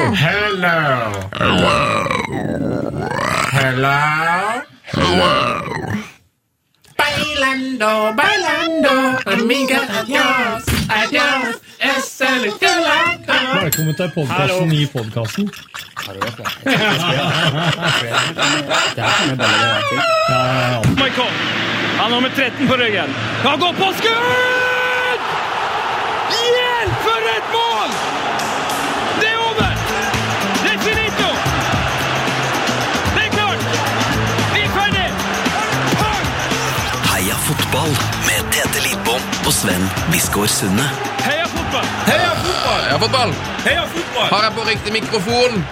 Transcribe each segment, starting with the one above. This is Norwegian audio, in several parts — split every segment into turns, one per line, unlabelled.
Hello. Hello. Bailando, bailando, amiga, adios, adios, es el helado.
Velkommen til podkasten i podkasten.
Michael. Han har nummer 13 på ryggen. Han går på skudd! Hjelp for et mål! Det er over! Det er finito! Det er klart! Vi er ferdig!
Heia fotball med Tete Lidbom og Sven Biskår Sunne.
Heia fotball!
Heia fotball! Heia fotball!
Heia fotball!
Har jeg på riktig mikrofon?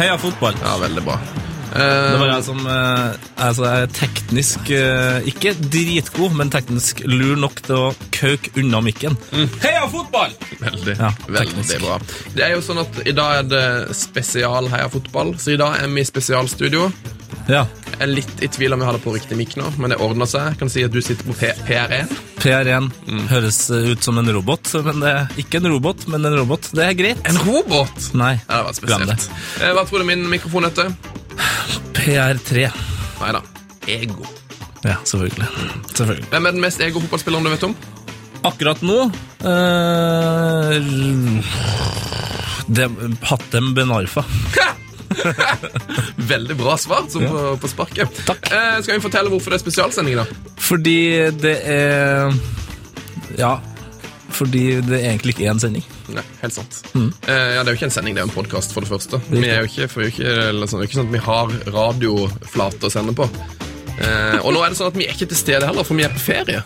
Heia fotball!
Ja, veldig bra.
Det
Eh,
var jeg som eh, altså, er teknisk eh, ikke dritgod, men teknisk lur nok til å kauke unna mikken.
Mm.
Heia fotball!
veldig,
Ja,
veldig
teknisk.
bra. Det er jo sånn at i dag er det spesial Heia fotball, så i dag er vi i spesialstudio.
Ja.
Jeg er litt i tvil om jeg har det på riktig mikk nå, men det ordner seg. Jeg kan si at du sitter på P E PR1.
PR1
Mm.
høres ut som en robot, men det er ikke en robot, men en robot. Det er greit.
En robot!
Nei,
Ja, det var
glem det.
spesielt. Eh, hva tror du min mikrofon heter?
PR3.
Nei da. Ego.
Ja, selvfølgelig.
Mm.
selvfølgelig.
Hvem er den mest ego-fotballspilleren du vet om?
Akkurat nå eh, det, Hatem Benarfa.
Veldig bra svar som på, på sparket.
Takk.
Eh, skal vi fortelle hvorfor det er spesialsending, da?
Fordi det er Ja. Fordi det egentlig ikke er en sending.
Nei, helt sant. Eh, ja, Det er jo ikke en sending, det er en podkast, for det første. Vi er jo ikke, for vi er jo ikke, eller sånn, det er ikke sånn at vi har radioflate å sende på. Eh, og nå er det sånn at vi er ikke til stede heller, for vi er på ferie.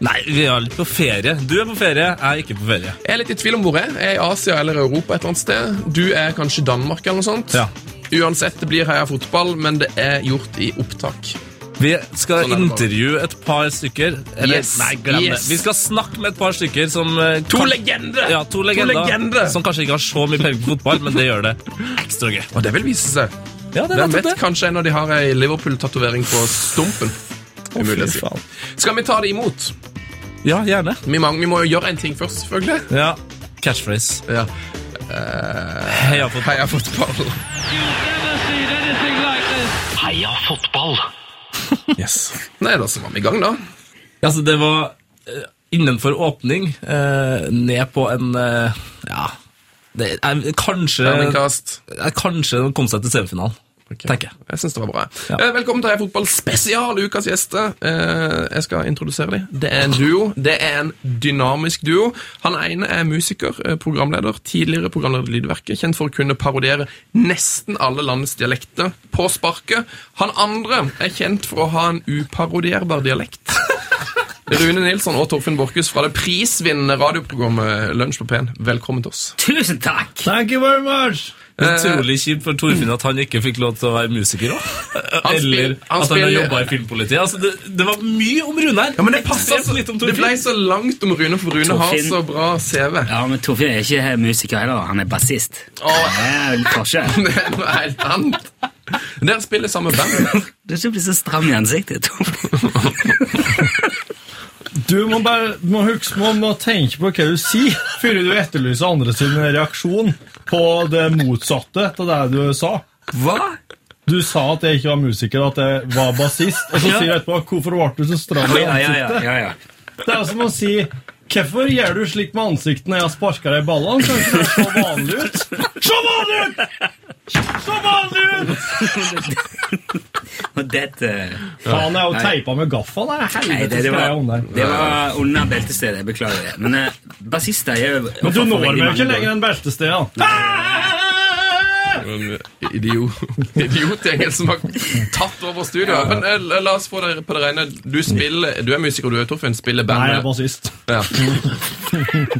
Nei, vi er litt på ferie. Du er på ferie, jeg er ikke på ferie.
Jeg er litt i tvil om hvor jeg er. Jeg er i Asia eller Europa et eller annet sted. Du er kanskje i Danmark eller noe sånt.
Ja.
Uansett, det blir heia fotball, men det er gjort i opptak.
Vi skal
Sånn er det bare.
intervjue et par stykker. Eller,
Yes,
nei, glem
yes.
det. Vi skal snakke med et par stykker som eh,
To
kan-
legender!
Ja, to legender,
legender!
Som kanskje ikke har så mye peiling på fotball, men det gjør det ekstra gøy.
Og det vil vise seg.
Ja, det er
Hvem
nettopp
vet,
det.
kanskje en av de har ei Liverpool-tatovering på stumpen. Umulig å si.
faen.
Skal vi ta det imot?
Ja, gjerne.
Vi, mang- vi må jo gjøre en ting først, selvfølgelig.
Ja, Catchphrase.
Ja.
Heia fotball.
Heia fotball.
Heia fotball!
Nei, da så var vi i gang, da.
Altså, det var eh, innenfor åpning, eh, ned på en eh, Ja, det er kanskje
Terningkast.
er Kanskje de kom seg til semifinalen, Eh, tenker jeg.
Jeg synes det var bra.
Ja.
Eh, Velkommen til Heia fotball spesial, ukas gjester. Eh, Jeg skal introdusere dem. Det er en duo. Det er en dynamisk duo. Han ene er musiker, eh, programleder, tidligere programleder i Lydverket, kjent for å kunne parodiere nesten alle landets dialekter på sparket. Han andre er kjent for å ha en uparodierbar dialekt. Rune Nilsson og Torfinn Borchhus fra det prisvinnende radioprogrammet Lunsj på P1. Velkommen til oss.
Tusen takk!
Thank you very much!
Utrolig
Eh,
kjipt for Torfinn at han ikke fikk lov til å være musiker òg.
Han spil-
Eller
han
at han har
spiller-
jobba i filmpolitiet. Altså, det, det var mye om Rune her.
Ja, men det passer
Ekstremt
så,
litt om
Altså, Det
Torfinn.
ble så langt om Rune, for Rune har
Torfinn.
så bra CV.
Ja, men Torfinn er ikke musiker heller, han er bassist.
Åh.
Det er litt forskjell.
Det er noe helt annet. Dere spiller samme band.
Du skal bli så stram i ansiktet, Torfinn.
Du må bare du må huske på å tenke på hva du sier, før du etterlyser andre sin reaksjon på det motsatte av det du sa.
Hva?
Du sa at jeg ikke var musiker, at jeg var bassist, og så
Ja.
sier du etterpå 'Hvorfor ble du så stram i
Ja, ja, ja,
ansiktet?'
ja, ja.
Det er som å si 'Hvorfor gjør du slik med ansiktet når jeg har sparka deg i ballene?' Kanskje det så vanlig ut? Så vanlig ut! Så vanlig ut!
Og dette...
Faen, jeg har jo
Nei.
teipa med gaffa der.
Nei,
Helvete
det, det,
skal jeg
var,
under.
det var under beltestedet, jeg beklager det. Men eh, bassister er jo...
Men du når meg jo ikke lenger enn beltestedet.
Idiot. eh, Idiotgjengen som har tatt over studioet. Men eh, la- la oss få det på det rene. Du, spiller, du er musiker, du er Torfinn. Spiller,
Nei, jeg er
bandet,
bassist.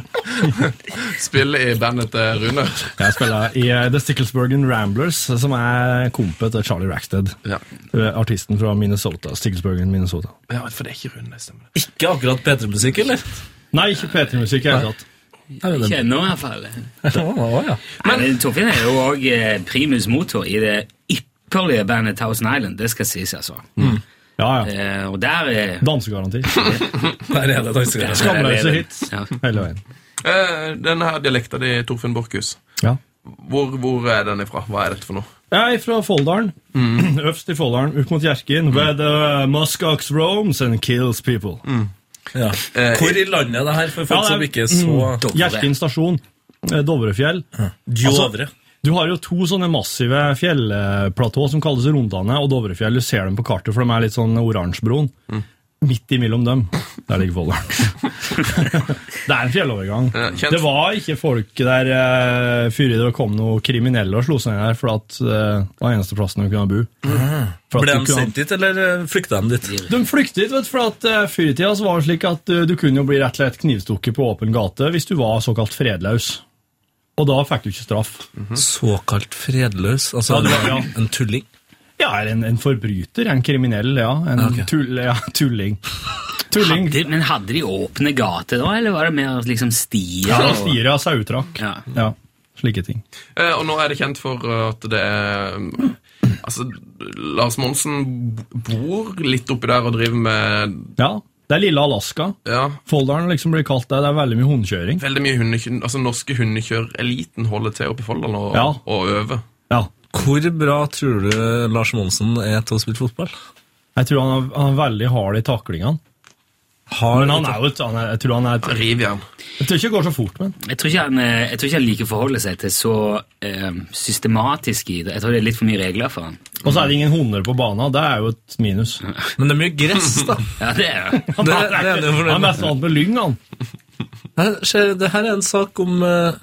spiller i bandet til Rune.
Jeg spiller i eh, The Sticklesburgen Ramblers, som er kompet til Charlie Rackstead.
Ja.
Eh, Artisten fra Minnesota. Sticklesburgen, Minnesota.
Ja, for det er ikke Rune, det stemmer.
Ikke akkurat P3-musikk, eller?
Nei, ikke P3-musikk. jeg vet at.
Ikke ennå i hvert fall. Men Torfinn er jo også eh, primus motor i det ypperlige bandet Thousand Island, det skal sies, altså.
Ja, ja.
Eh, Og der er...
Dansegaranti.
Der er det dansegreier.
Skamløse hits
Ja.
hele veien.
Eh, Denne her dialekta di, Torfinn Borchhus.
Ja.
Hvor, hvor er den ifra? Hva er dette for noe?
Jeg er fra Folldalen. Øverst i Folldalen, ut mot Hjerkinn. Where the muskox roams and kills people.
Ja.
Eh, Mm.
Hvor i landet er det her, for folk
Ja, det er-
som ikke er så
Hjerkinn stasjon, eh, Dovrefjell.
Djovre.
Du har jo to sånne massive fjellplatå som kalles Rondane og Dovrefjell. Du ser dem på kartet, for de er litt sånn oransjebroen.
Mm.
Midt imellom dem. Der ligger Folldalen. det er en fjellovergang.
Ja, kjent.
det var ikke folk der eh, før det kom noen kriminelle og slo seg ned der, for at, eh, det var eneste plassen de kunne bo.
Mm.
For at
Ble
du
de
kunne-
sendt dit, eller eh, flykta de dit?
De flyktet, vet du, for at eh, før i tida så var det slik at eh, du kunne jo bli rett og slett knivstukket på åpen gate hvis du var såkalt fredløs. Og da fikk du ikke straff.
Såkalt fredløs. Altså
Ja, det var- ja.
en- en tulling.
Ja, eller en, en forbryter, en kriminell, ja. En
Ok.
tull, ja, tulling. Tulling.
Hadde, men hadde de åpne gater da, eller var det mer liksom stier?
Ja,
og-
Stier av sautrakk.
Ja.
Ja, slike ting.
Eh, og nå er det kjent for eh, at det er mm, Altså, Lars Monsen b- bor litt oppi der og driver med
Ja, det er lille Alaska.
Ja,
Folldalen liksom blir kalt det. Det er veldig mye hundekjøring.
veldig mye hundekjø... Altså, norske hundekjøreliten holder til oppe i Folldal og,
Ja.
og øver.
Ja.
Hvor bra tror du Lars Monsen er til å spille fotball?
Jeg tror han er, han er veldig hard i taklingene.
Har
Men han er jo et han er, Jeg tror han er et,
Rivjern.
Jeg tror ikke det går så fort, men
Jeg tror ikke han, eh, jeg tror ikke han liker å forholde seg til så eh, systematisk i det. Jeg tror det er litt for mye regler for han.
Og så er det ingen hunder på banen. Det er jo et minus.
Men det er mye gress, da.
Ja, det er jo.
Det, det er det for
Han er mest vant med lyng, han.
Her, skjer, det her er en sak om eh,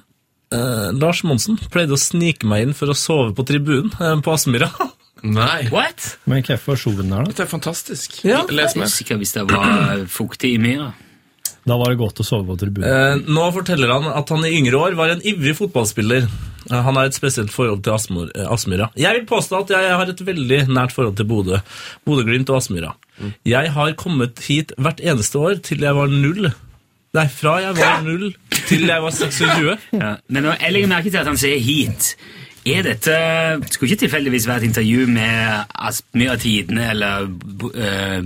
eh, Lars Monsen pleide å snike meg inn for å sove på tribunen eh, på Aspmyra.
Nei.
What?
Men hvorfor sov han der, da?
Dette er fantastisk.
Ja.
Les
Jeg er
mer.
usikker hvis det var fuktig i myra.
Da var det godt å sove på tribunen.
Eh, nå forteller han at han i yngre år var en ivrig fotballspiller. Eh, han har et spesielt forhold til Aspmor- eh, Aspmyra. Jeg vil påstå at jeg har et veldig nært forhold til Bodø. Bodø-Glimt og Aspmyra. Jeg har kommet hit hvert eneste år til jeg var null. Nei, fra jeg var null til jeg var 26.
Ja. Men nå- jeg legger merke til at han sier hit. Er dette Skulle ikke tilfeldigvis være et intervju med Aspmyra Tidende eller Bo- eh,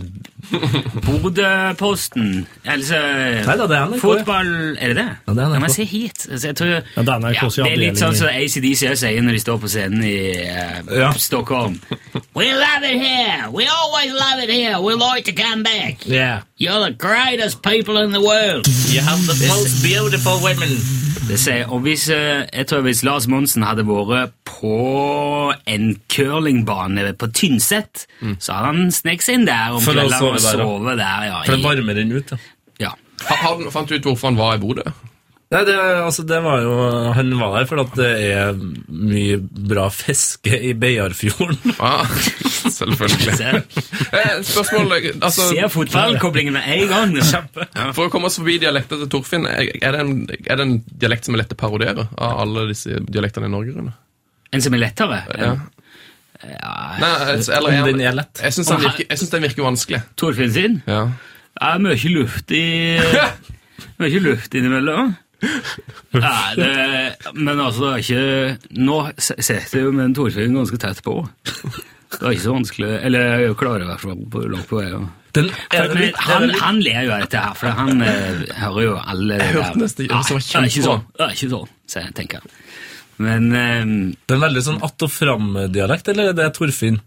Bodø-posten? Altså
Nei da, det er NRK, ja.
Fotball Er det det?
Ja, det er NRK.
men se hit. Altså, jeg tror,
det er NRKs
det er litt sånn
avdeling.
som ACDC også sier når de står på scenen i eh,
Ja.
Stockholm. We love it here! We always love it here! We like to come back!
Yeah.
You're the greatest people in the world!
You have the most beautiful women.
Det sier, og hvis, eh, jeg tror hvis Lars Monsen hadde vært på en curlingbane på Tynset,
Mm.
så hadde han sneket seg inn der om
For å
kveldene
sove
og
der, ja.
sove der. Ja,
For det
i,
varmer den ut, ja.
ja.
Ha- Han fant du ut hvorfor han var i Bodø.
Nei, det, altså, det var jo, han var der fordi at det er mye bra fiske i Beiarfjorden.
Ah, selvfølgelig.
Ser,
Eh, spørsmål eh, altså,
ser fotballkoblingen med en gang. Kjempe.
For å komme oss forbi dialekten til Torfinn, er er det, en, er det en dialekt som er lett å parodiere av alle disse dialektene i Norge? Rune?
En som er lettere.
Ja. Nei, altså, eller
Om
er
den
han,
er lett.
jeg syns den, virker- jeg synes den virker vanskelig.
Torfinn sin.
Ja.
Det er mye luft i Mye luft innimellom. Nei, det, men altså, det er ikke Nå s- sitter jo med en Torfinn ganske tett på. Det er ikke så vanskelig Eller jeg klarer i hvert fall på- langt på vei. Ja.
Den er det
Men
litt, er
han,
det litt.
han ler jo av dette her, for han eh, hører jo alle Jeg
hørte nesten ikke, det var
det er ikke
kjempebra.
sånn, det er ikke sånn, så jeg tenker Men eh,
Det er en veldig sånn att og fram-dialekt, eller er det Torfinn?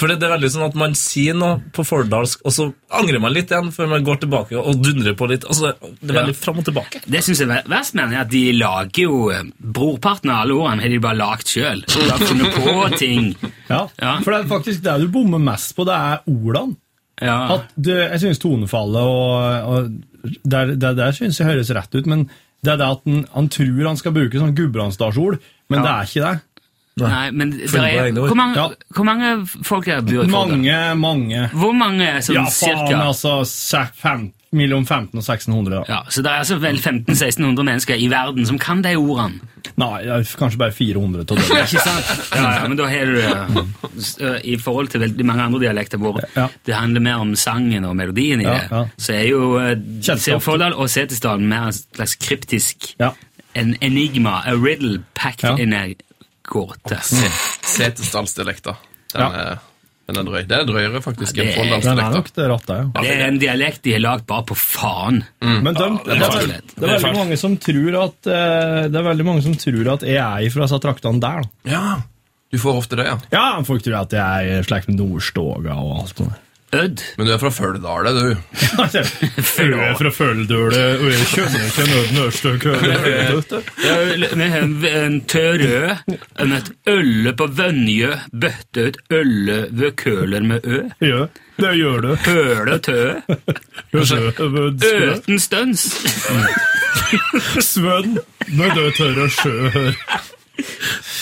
For det det er veldig sånn at man sier noe på fordalsk, og så angrer man litt igjen før man går tilbake og dundrer på litt. Altså, det er veldig fram og tilbake.
det syns jeg er verst, mener jeg, at de lager jo eh, Brorparten av alle ordene har de bare lagd sjøl. Funnet på ting.
Ja.
Ja.
For det er faktisk det du bommer mest på, det er ordene.
Ja.
At det, jeg synes tonefallet og, og det, det der synes jeg høres rett ut, men det er det at han, han tror han skal bruke sånn gudbrandsdalsord, men det er ikke det.
Nei, men det
Funnet på
er,
egne ord.
hvor, mange,
Ja.
hvor mange folk er det bor i Folldal?
Mange, mange.
Hvor mange sånn
Ja, faen,
cirka?
altså. se- fem, mellom 15 og 1600, da.
Ja, så det er altså vel 1500-1600 mennesker i verden som kan de ordene.
Nei, det er kanskje bare 400 til det.
Ikke sant? Ja, ja, men da har du eh, s- eh, I forhold til veldig mange andre dialekter hvor
Ja.
det handler mer om sangen og melodien i
Ja,
det,
ja.
så er jo eh,
Kjent
ser
ofte.
Folldal og Setesdal mer en slags kryptisk
Ja.
en enigma, a riddle packed
Ja. Mm.
in a gåte.
Setesdalsdialekter. Den
Ja.
er Den er drøy. Den er drøyere, faktisk, enn
Den
det-
er
Folldalsdialekta.
nok det rattet, ja.
Det er en dialekt de har lagd bare på faen.
Men de, det,
er
er
fælt.
veldig- det er veldig mange som tror at eh, Det er veldig mange som tror at jeg er fra disse traktene der. da.
Ja, du får ofte det, ja.
Ja, folk tror at jeg er i slekt med Nordstoga og alt sånt.
Ødd.
Men du er fra Følledale, du.
Føler jeg Altså, fra Følledøle, og jeg kjenner ikke Nøden Ørstø
Vi har en, en tørø, en et ølle på Vønjø, bøtte ut ølle ved køler med ø.
Ja, det gjør du.
Høle tø,
Altså,
Sjø-
øten støns.
Svønn, når du tør å sjø her.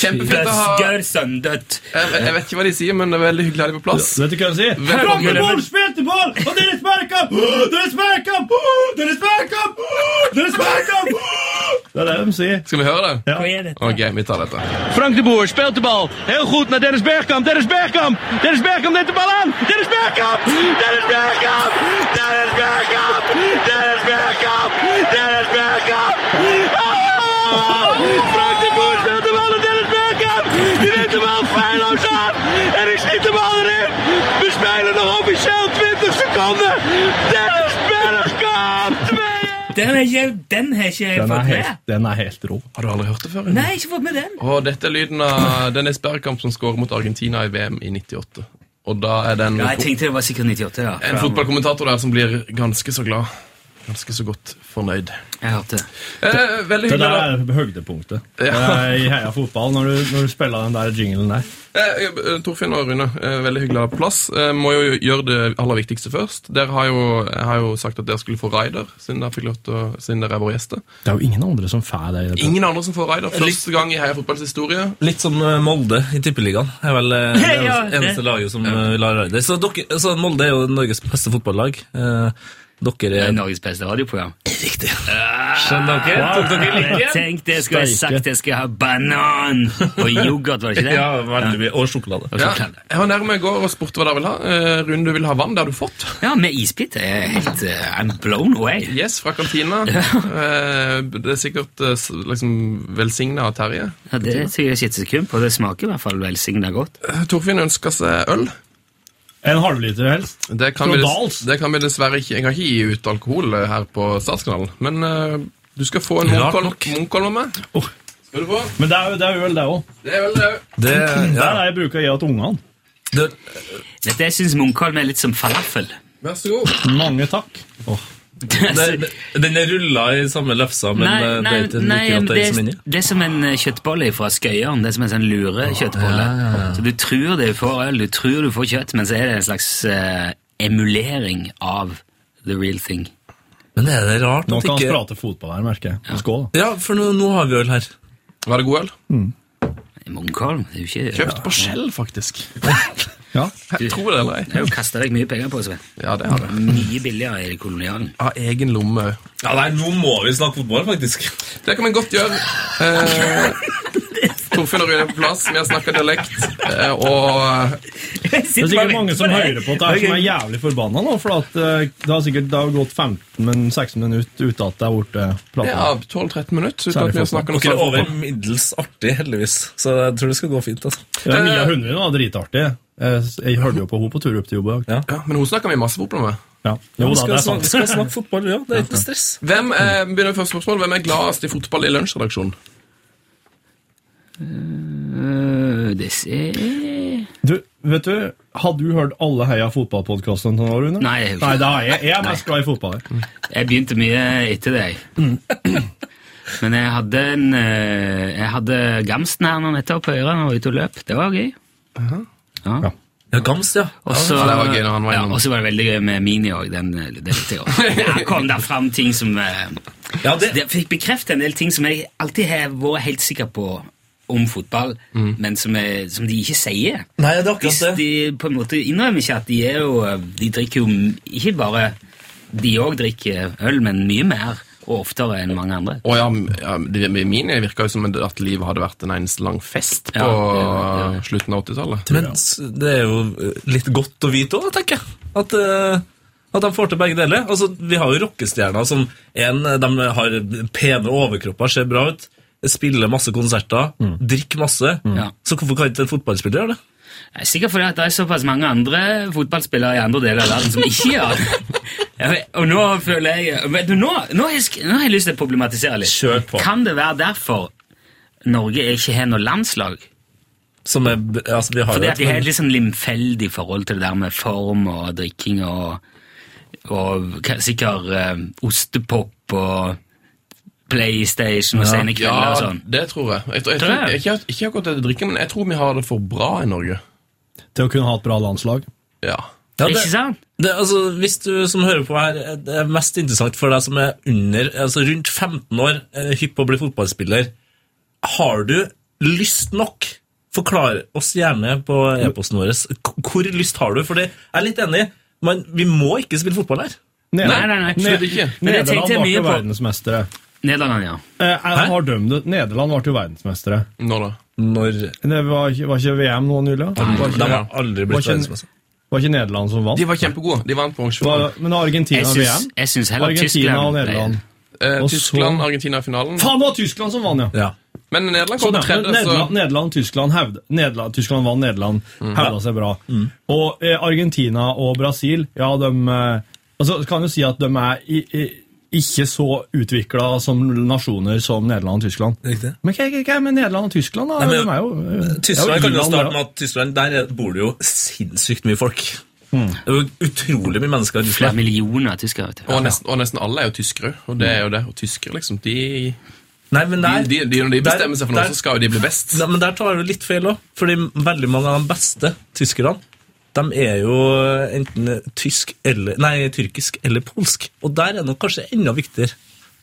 Kjempefint å ha jeg,
Bøsker søndet.
jeg vet ikke hva de sier, men det er veldig hyggelig å ha deg på plass.
Vet du hva jeg sier?
Velkommen.
Rockeball spilte ball, og deres merkamp! Deres merkamp! Deres merkamp! Deres merkamp! Det er det de sier.
Skal vi høre det?
Hva
er dette?
Ok, vi tar dette.
Frank de Boer speelt de bal. Heel goed naar Dennis Bergkamp. Dennis Bergkamp. Dennis Bergkamp neemt de bal aan. Dennis Bergkamp. Dennis Bergkamp. Dennis Bergkamp. Dennis Bergkamp. Dennis Bergkamp. Ah! Frank de Boer speelt de bal naar Dennis Bergkamp. Die neemt de bal feilloos aan. En ik schiet de bal erin. We spelen nog officieel 20 seconden. Dennis Bergkamp. 2-1.
Den har ikke, den har ikke jeg
Den er
fått med.
helt, den er helt rå.
Har du aldri hørt det før? Ine?
Nei, jeg har ikke fått med den.
Og dette er lyden av Dennis Bergkamp som skårer mot Argentina i VM i 98. Og da er det en,
Ja, jeg tenkte det var sikkert 98, ja.
en fotballkommentator der som blir ganske så glad. Ganske så godt fornøyd.
Jeg hørte det.
Eh, veldig hyggelig.
Det der
da.
er høydepunktet
Ja.
Eh, i heia fotball, når du, når du spiller den der jinglen der.
Eh, eh, Torfinn og Rune, eh, veldig hyggelig å ha deg på plass. Eh, må jo gjøre det aller viktigste først. Dere har jo, jeg har jo sagt at dere skulle få Raider, siden dere, fikk lov til å, siden dere er våre gjester.
Det er jo ingen andre som får det. i dette.
Ingen andre som får Raider. Første gang i Heia fotballs historie.
Litt som eh, Molde i Tippeligaen. Er vel eh, det eneste, eneste laget som eh, vil ha Raider. Så, dere, så Molde er jo Norges beste fotballag. Eh, Dere
Det
er
er Norges beste radioprogram. Ah,
Skjønner dere? Tok dere linken?
Tenk, det skulle jeg sagt. Jeg skal ha banan og yoghurt, var det ikke det?
Ja, veldig mye. Og sjokolade.
Og
Ja,
sjokolade.
jeg var nærme i går og spurte hva dere vil ha. Eh, Rune, du vil ha vann. Det har du fått.
Ja, med isbit er jeg helt eh, I'm blown away.
Yes, fra kantina. Eh, Det er sikkert eh, s- liksom velsigna av Terje.
Ja, det tror jeg ikke et sekund på. Det smaker i hvert fall velsigna godt.
Eh, Torfinn ønsker seg øl.
En halvliter helst.
Det kan,
Fra
vi,
Dals.
dess- det kan vi dessverre ikke Jeg kan ikke gi ut alkohol eh, her på Statskanalen. Men eh, du skal få en
Rart
Munkholm
nok.
Munkholm av meg.
Oh.
Skal du få?
Men det er jo det er jo vel det òg.
Det er vel det.
Det,
Det
ja,
er det jeg bruker å gi til ungene.
det,
Dette jeg syns Munkholm er litt som falafel.
Vær så god.
Mange takk.
det, den er rulla i samme lefsa, men eh, det er ikke
nei,
like
men
godt det
det,
er som
er,
inni.
det er som en eh, kjøttbolle fra Skøyeren. Det er som en sånn lure kjøttbolle. Så du tror du får øl, du tror du får kjøtt, men så er det en slags eh, emulering av the real thing.
Men er det rart
Nå
at
kan vi
ikke
prate fotball her, merker jeg. Skål. da.
Ja, for nå, nå har vi øl her.
Var det god øl?
Munkholm, det er jo ikke
Kjøpt på Skjell, faktisk.
Ja.
Jeg tror det eller ei.
Det har jo kasta vekk mye penger på, Sven.
Ja, det har det.
Mye billigere i kolonialen.
Av egen lomme òg.
Ja, nei, nå må vi snakke fotball, faktisk.
Det kan vi godt gjøre. Eh, Torfinn og Rune er på plass. Vi har snakka dialekt. Eh, og
Det er sikkert mange som hører på det her som er jævlig forbanna nå, for at eh, det har sikkert det har gått 15 men 16 minutter uten at det har blitt prata.
Ja, 12-13 minutter uten at
Særlig
vi har
fotball.
snakket noe
Dere er
særlig
over
fotball.
middels artig, heldigvis. Så jeg tror det skal gå fint. altså.
Ja, Mia Hundvin var dritartig. Jeg, jeg hørte jo på henne på tur opp til jobb i dag.
Ja, men hun snakker vi masse fotball med.
Ja.
Vi
Jo da,
skal,
det er
snakke,
sant.
vi skal snakke fotball, ja. Det er ikke noe stress.
Hvem er, begynner med første spørsmål, hvem er gladest i fotball i lunsjredaksjonen?
Øh, det ser
Du, vet du, har du hørt alle Heia fotballpodkastene til nå, Rune?
Nei, jeg har ikke.
Nei, det har jeg. Jeg er mest glad i fotball. jeg.
Jeg begynte mye etter deg. Men jeg hadde en eh, Jeg hadde Gamsten her nå nettopp på øret. Han var ute og løp. Det var gøy. Ja.
Ja, Gams, ja.
Og så
Ja, det var gøy når han var
ja,
innom.
og så var det veldig gøy med Mini òg. Den, eh, det likte jeg også. Der kom det fram ting som eh,
Ja, det,
Jeg fikk bekreftet en del ting som jeg alltid har vært helt sikker på om fotball,
Mm.
men som, er, som de ikke sier.
nei, det er
Hvis
akkurat det.
de på en måte innrømmer ikke at de er jo eh, De drikker jo m- ikke bare De òg drikker øl, men mye mer og oftere enn mange andre.
Å ja, m- ja det, mine virka jo som at livet hadde vært en eneste lang fest på
Ja, ja, ja.
slutten av 80-tallet.
Men s- det er jo eh, litt godt å vite òg, tenker jeg. At, eh, at de får til begge deler. Altså, Vi har jo rockestjerner som en, eh, de har pene overkropper, ser bra ut, spiller masse konserter, drikker masse.
Ja.
Så hvorfor kan ikke en fotballspiller gjøre det?
Nei, Sikkert fordi at det er såpass mange andre fotballspillere i andre deler av verden som ikke gjør det. Ja, Og nå føler jeg vet du, nå, nå, har jeg, sk- nå har jeg lyst til å problematisere litt.
Kjør på.
Kan det være derfor Norge ikke har noe landslag?
Som er, b- altså, vi har
Fordi
jo
at de
et
har et litt sånn limfeldig forhold til det der med form og drikking og, og k- sikkert eh, ostepop og PlayStation og sene kvelder og
Ja,
sånn.
det tror jeg. Jeg, tror- jeg,
Tror
tror,
jeg.
ikke, ikke akkurat det å drikke, men jeg tror vi har det for bra i Norge.
Til å kunne ha et bra landslag.
Ja.
Ja, det-
Ikke sant?
Det, altså, hvis du som hører på her, eh, det er mest interessant for deg som er under, altså rundt 15 år, eh, hypp på å bli fotballspiller, har du lyst nok? Forklar oss gjerne på e-posten vår. K- Hvor lyst har du? For det jeg er litt enig, men vi må ikke spille fotball her.
Ned-
Nei, nei, nei, absolutt
ikke.
Men jeg
Nederland
tenkte
ble
mye
jo
på
verdensmestere.
Nederland, ja.
Eh, jeg har dømt det. Nederland ble jo verdensmestere.
Nå da.
Når
Det var, ikke- var ikke VM nå nylig? da? Var,
de
ikke-
har aldri
Var
blitt
ikke-
verdensmester.
var ikke Nederland som vant?
De var kjempegode. De vant på arrangementet.
Var, men Argentina
Jeg syns,
VM?
jeg syns heller
Argentina og Nederland.
Eh,
og
Tyskland,
så-
Argentina i finalen.
Faen, Sånn, det var Tyskland som vant, ja!
Ja.
Men Nederland
Så
kom på
derfor,
tredje,
Nederland,
så
Nederland og Tyskland hevde, Nederland, Tyskland vant, Nederland hevda seg bra. Og eh, Argentina og Brasil, ja, de eh, altså, kan jo si at de er i, i, ikke så utvikla som nasjoner som Nederland og Tyskland.
Riktig.
Men hva, hva hva er med Nederland og Tyskland, da?
Nei, men-
de er jo, eh, det er
Tyskland kan
jo
jo
Irland,
starte
det,
med at Tyskland, der bor det jo sinnssykt mye folk. Det er jo utrolig mye mennesker i
Flere
Tyskland.
millioner tyskere, vet du.
og nesten, og nesten alle er jo tyskere, og det er jo det. Og tyskere, liksom, de,
Nei, men
de,
der,
de, de Når de bestemmer seg for noe,
der-
så skal jo de bli best.
Nei, men der tar du litt feil òg, fordi veldig mange av de beste tyskerne de er jo enten tysk eller, nei, tyrkisk eller polsk. Og der er det nok kanskje enda viktigere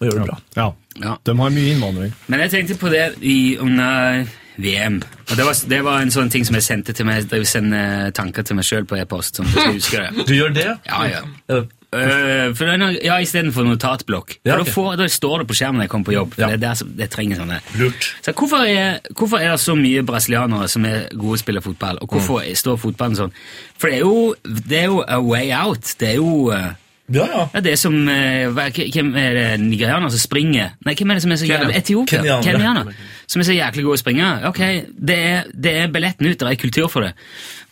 å gjøre det bra.
Ja.
Ja.
De har mye innvandring.
Men jeg tenkte på det i, under VM. Og det var, det var en sånn ting som jeg sendte til meg, jeg sender tanker til meg sjøl på e-post. som du skal huske det.
Du gjør det?
Ja, ja.
Eh,
Uh, for den, har- ja, Istedenfor notatblokk. For
Ja,
da
ok.
får- Da står det på skjermen når jeg kommer på jobb. for
Ja.
Det, er der, som- det trenger sånne.
Lurt.
Så hvorfor, er, hvorfor er det så mye brasilianere som er gode til å spille fotball, og hvorfor
Mm.
står fotballen sånn? For det er jo, det er jo a way out. Det er jo eh,
Ja, ja.
ja, det er som eh, hva- k- Hvem er det nigerianer som springer? Nei, hvem er det som er så jævlig Etiopier?
Kenyaner.
Kenyaner. Som er så jæklig gode å springe. Ok, det er, det er billetten ut, det er kultur for det.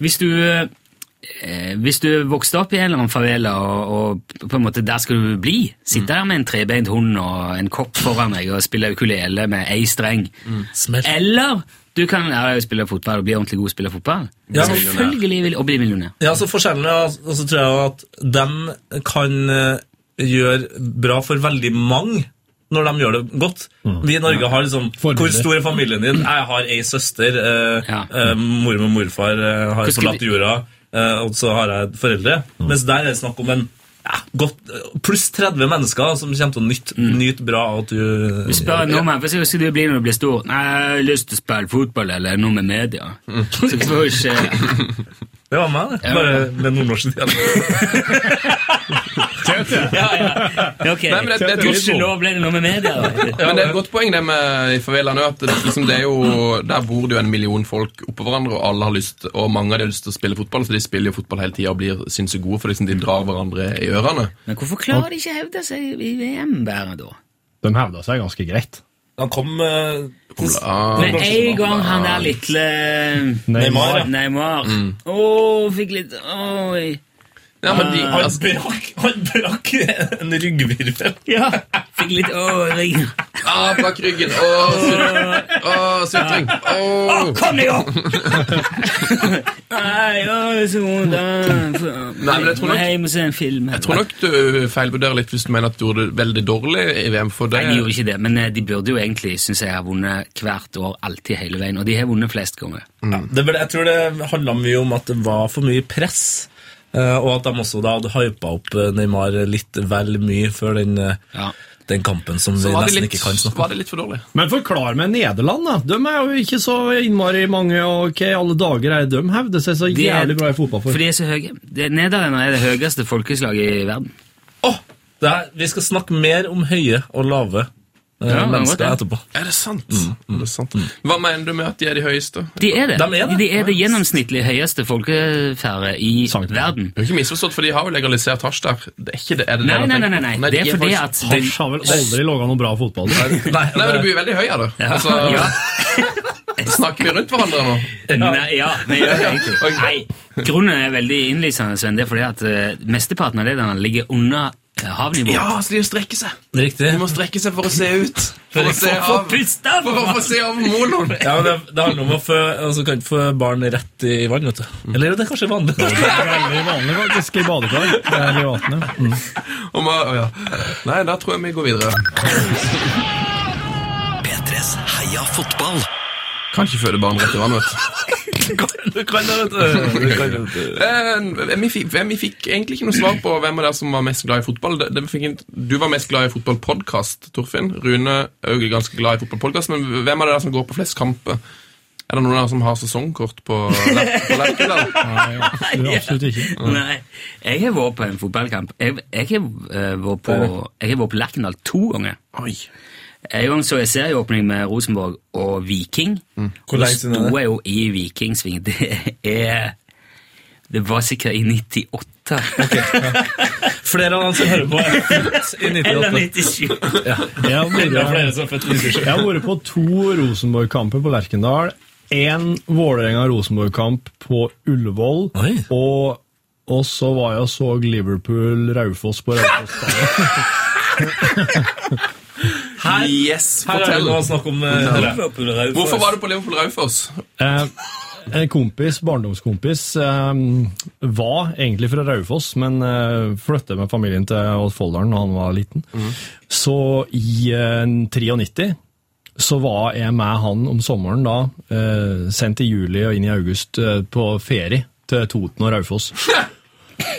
Hvis du eh, hvis du vokste opp i en eller annen favela, og, og på en måte der skal du bli Sitte her med en trebeint hund og en kopp foran deg og spille ukulele med ei streng
Smell.
Eller du kan lære deg å spille fotball og bli ordentlig god til å spille fotball.
Ja, men-
Selvfølgelig vil, og bli millionær.
Ja, så forskjellen er altså, så tror jeg at de kan eh, gjøre bra for veldig mange når de gjør det godt.
Mm.
Vi i Norge har liksom
Forbilder.
Hvor stor er familien din? Jeg har ei søster. Eh,
Ja.
eh, mormor og morfar eh, har
Hvordan skal
forlatt
vi- Mm.
jorda, eh, og så har jeg foreldre. Mens der er det snakk om en ja, godt, pluss 30 mennesker som kommer til å nyte
Mm.
nyte bra av at du
Du spør en nordmann hva skal du bli når du blir stor. Nei, jeg har lyst til å spille fotball eller noe med media. Så det får jo ikke...
Det var meg, det.
Ja.
Bare med nordnorsk dialekt.
Ja, ja. Ok,
Nei, men det- det er turismo.
nå ble det noe med media. da.
Ja, men Det er et godt poeng det med i favelaen òg. Liksom det er jo- der bor det jo en million folk oppå hverandre, og alle har lyst, og mange av de har lyst til å spille fotball, så de spiller jo fotball hele tida og blir sinnssykt gode, for liksom de drar hverandre i ørene.
Men hvorfor klarer de ikke å hevde seg i VM bare da?
De hevda seg ganske greit.
Han kom eh,
Ah,
Med en gang han der lille
Neymar, ja.
Neymar.
Mm.
Åh, fikk litt Oi.
ja, men de,
Han
altså,
brakk, han brakk en ryggvirvel.
Ja, fikk litt Oi.
ah, bak ryggen. Åh, sut- åh, sutring. Åh.
Kom deg opp! Nei, åh, så vondt. ah.
Nei, men jeg tror nok-
Må hjem og se en film.
Jeg tror nok du feilvurderer litt hvis du mener at du gjorde det veldig dårlig i VM. For det,
Nei, de gjorde ikke det, men eh, de burde jo egentlig, synes jeg, ha vunnet hvert år, alltid hele veien, og de har vunnet flest ganger.
Ja, det ble, jeg tror det handla mye om at det var for mye press, eh, og at de også da hadde hypa opp eh, Neymar litt vel mye før den, eh,
Ja.
den kampen som vi
så var det
nesten
litt,
ikke kan snakke om.
var det litt for dårlig.
Men forklar meg Nederland, da. De er jo ikke så innmari mange, og hva i alle dager er de hevder seg så
De er-
jævlig bra i fotball for?
For de er så høye. Det- Nederlenderne er det høyeste folkeslaget i verden.
Åh, det her, vi skal snakke mer om høye og lave eh,
Ja, det var
mennesker
det.
etterpå.
Er det sant? Er det sant? Mm, Hva mener du med at de er de høyeste?
De er det.
De er det.
De er det gjennomsnittlig høyeste folkefære i
Sant.
verden.
Jeg har ikke misforstått, for de har jo legalisert hasj der. Det er ikke det, er det
Nei,
det de
nei, nei, nei,
tenker?
nei.
de
det er fordi
faktisk-
at...
Hasj har vel aldri laga noe bra fotball?
Nei, altså,
Nei, men du
det,
Altså, blir veldig høy av det.
Ja.
Altså,
Ja.
Snakker vi rundt hverandre nå?
Nei, ja, vi gjør det egentlig. Nei, grunnen er veldig innlysende, Sven. Det er fordi at eh, mesteparten av lederne ligger under eh, havnivå.
Ja, så de strekker seg.
Riktig.
De må strekke seg for å se ut. For å se
Få
av,
puste!
for å få se av moloen.
Ja, men det, det handler om å få, altså, kan ikke få barn rett i vann, vet du.
Mm.
Eller er det kanskje vanlig?
Veldig vanlig faktisk i badekar. Eller i vannet. Mm.
Og må, å ja. Nei, da tror jeg vi går videre.
P3s Heia fotball.
Kan ikke føde barn rett i vann, vet du.
Du kan det, vet du. Du kan det, vet du.
Eh, vi, fikk, vi fikk egentlig ikke noe svar på hvem av dere som var mest glad i fotball. Det, det vi fikk en, du var mest glad i fotballpodkast, Torfinn. Rune òg er ganske glad i fotballpodkast. Men hvem av dere som går på flest kamper? Er det noen av dere som har sesongkort på Ler- på Lerkendal?
Det er Absolutt ikke.
Nei, jeg har vært på en fotballkamp. Jeg, jeg har eh, vært på, jeg har vært på Lerkendal to ganger.
Oi.
En gang så jeg serieåpning med Rosenborg og Viking.
Hvor lenge siden er det?
Sto jeg jo i Vikingsving. Det er Det var sikkert i 98.
Flere av dem som hører på, er født i
Eller
98.
97.
Jeg har
Det er
vært-
flere som er født i 97.
jeg har vært på to Rosenborg-kamper på Lerkendal. Én Vålerenga-Rosenborg-kamp på Ullevål.
Oi.
Og, og så var jeg og så Liverpool-Raufoss på Raufoss.
Yes,
Her er det
fortell.
noe snakk om eh, Liverpool, Raufoss.
Hvorfor var du på Liverpool Raufoss?
Eh, en kompis, barndomskompis, eh, var egentlig fra Raufoss, men eh, flyttet med familien til Odd Folldalen da han var liten. Så i eh, 93 så var jeg med han om sommeren da, eh, sendt i juli og inn i august eh, på ferie til Toten og Raufoss.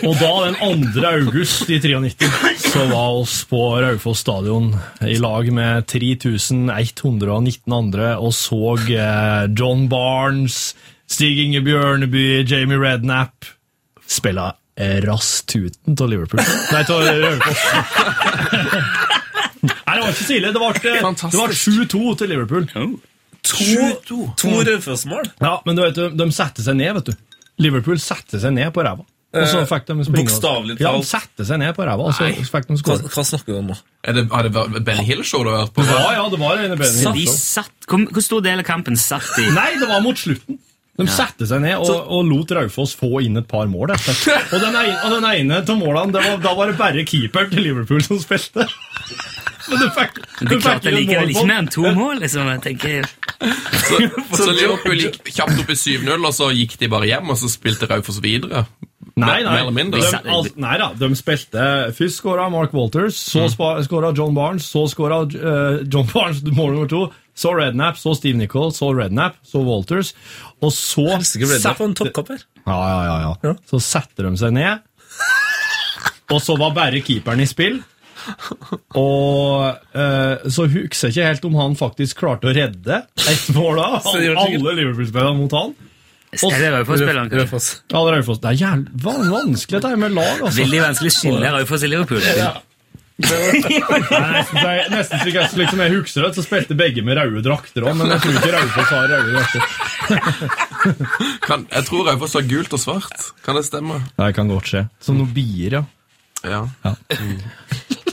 Og da, den 2. august i 93, så var oss på Raufoss stadion i lag med 3119 andre og så eh, John Barnes, Stig Inge Bjørneby, Jamie Redknapp spille Rasstuten til Liverpool. Nei, til Raufoss. Nei, det var ikke så ille. Det var, det var
Fantastisk.
7-2 til Liverpool.
to, to Raufoss-mål?
Ja, Men du vet, de- de satte seg ned, vet du. Liverpool satte seg ned på ræva. Og så
Eh,
fikk de springe.
bokstavelig
Ja, de
talt.
satte seg ned på ræva, og så fikk de
Hva,
skåre.
hva snakker du om nå?
Er det, har det vært Ben Hill-show du har vært på?
Ja, ja, det var en
Så
bedre
de satt, hvor, hvor stor del av kampen satt de?
Nei, det var mot slutten. De satte seg ned og, og lot Raufoss få inn et par mål. etter. Og den ene, og den ene til målene, det var, da var det bare keeperen til Liverpool som spilte. Men du fikk,
Men det er klart
fikk
jeg
ikke
liker
en
vel ikke
målbånd.
mer enn to mål, liksom. Jeg tenker,
Så, så Liverpool gikk kjapt opp i 7-0, og så gikk de bare hjem, og så spilte Raufoss videre?
Nei, nei.
Mer eller mindre.
De, al- nei da, de spilte Først skåra Mark Walters, så mm. skåra John Barnes, så skåra eh, John Barnes mål nummer to, så Redknapp, så Steve Nichols, så Redknapp, så Walters, og så
Sikkert ble det på en toppkamp her.
Ja, ja, ja, ja. Så setter de seg ned, og så var bare keeperen i spill. Og eh, så husker jeg ikke helt om han faktisk klarte å redde ett mål da.
det gjør det sikkert.
Alle Liverpool-spillerne mot han.
er det Raufoss-spilleren, kanskje?
Raufoss.
Ja, det er Raufoss. Det er jævlig van- vanskelig dette her med lag, altså.
Veldig vanskelig å skille Raufoss og Liverpool.
Det er nesten, så jeg, nesten slik, slik som jeg husker det, så spilte begge med røde drakter òg, men jeg tror ikke Raufoss har røde drakter.
Kan, jeg tror Raufoss var gult og svart. Kan det stemme?
Det kan godt skje. Som noen bier, ja.
Ja.
ja.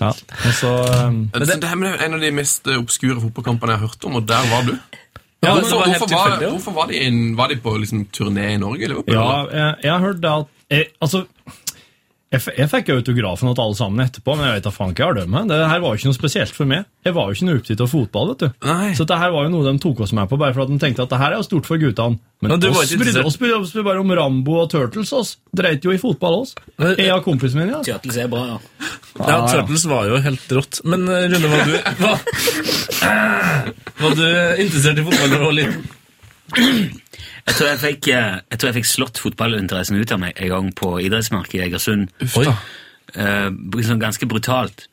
Og så, um,
Det, det, her er en av de mest eh, obskure fotballkampene jeg har hørt om, og der var du.
ja,
var helt
Hvorfor,
men-
hvorfor, var,
tilfeldig, ja.
hvorfor var, de inn, var de på liksom, turné i Norge? Eller?
Ja, jeg, jeg har hørt det at jeg, Altså, jeg, f- jeg fikk autografen til alle sammen etterpå, men jeg vet da faen ikke jeg har dømme. Det her var jo ikke noe spesielt for meg. Jeg var jo ikke noe opptatt av fotball, vet du.
Nei.
Så det her var jo noe de tok oss med på, bare for at de tenkte at det her er jo stort for guttene. Men
Men du var
oss
ikke
brydde
interessert.
oss brydde oss bare om Rambo og Turtles, oss. Dreit jo i fotball, oss.
Men-
Jeg og kompisen min, ja.
Turtles er bra, ja.
Ja, Turtles var jo helt rått. Men eh, Rune, var du, var, var du interessert i fotball da du var liten?
Jeg tror jeg fikk, eh, jeg tror jeg fikk slått fotballinteressen ut av meg en gang på idrettsmarkedet i Egersund.
Oi.
Eh, sånn ganske brutalt.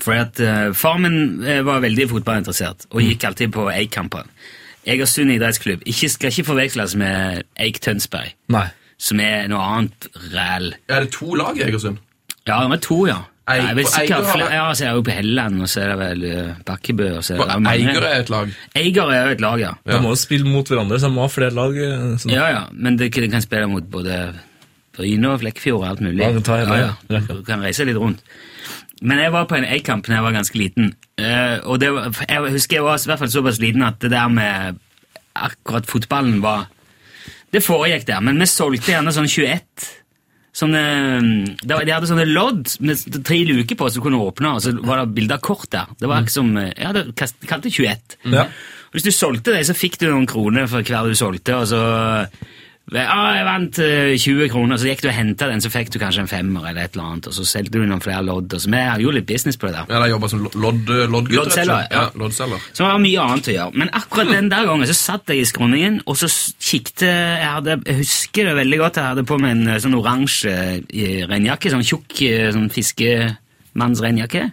For at eh, far min eh, var veldig fotballinteressert og
Mm.
gikk alltid på Eik-kamper. Egersund idrettsklubb ikke, skal ikke forveksles med Eik Tønsberg,
Nei.
som er noe annet ræl.
Er det to lag i Egersund?
Ja, det var to, ja.
Eik-
Jeg
på
vil sikkert,
Eiker har
fl-
det-
ja, så er jeg jo på Helleland, og så er det vel eh, Bakkebø og så er det mange.
Eiger er et lag.
Eiger er jo et lag, ja.
De må jo spille mot hverandre, så de må ha flere lag. eh, Sånn.
Ja, ja, men det, det kan spille mot både Bryne og Flekkefjord og alt mulig.
Ja, det tar jeg med, ja.
Du kan reise litt rundt. Men jeg var på en Egg-kamp da jeg var ganske liten. eh, og det var, jeg husker jeg var i hvert fall såpass liten at det der med akkurat fotballen var Det foregikk der, men vi solgte gjerne sånn 21. Sånne, mm, det var- de hadde sånne lodd med tre luker på som du kunne åpne, og så var det bilde av kort der. Det
Mm.
var liksom, ja, det kast- de kalte det 21. Og Hvis du solgte det, så fikk du noen kroner for hver du solgte, og så ja, jeg vant eh, 20 kroner, så gikk du og hentet den, så fikk du kanskje en femmer eller et eller annet, og så selgte du noen flere lodd, og så vi hadde jo litt business på det der.
Ja, de jobber som lodd, loddgutter. rett og slett.
Loddselger, ja.
ja. Loddselger.
Så det var mye annet å gjøre. Men akkurat den der gangen så satt jeg i skråningen, og så s- kikket jeg hadde, Jeg husker det veldig godt. Jeg hadde på meg en eh, sånn oransje eh, regnjakke. Sånn tjukk eh, sånn fiskemannsregnjakke.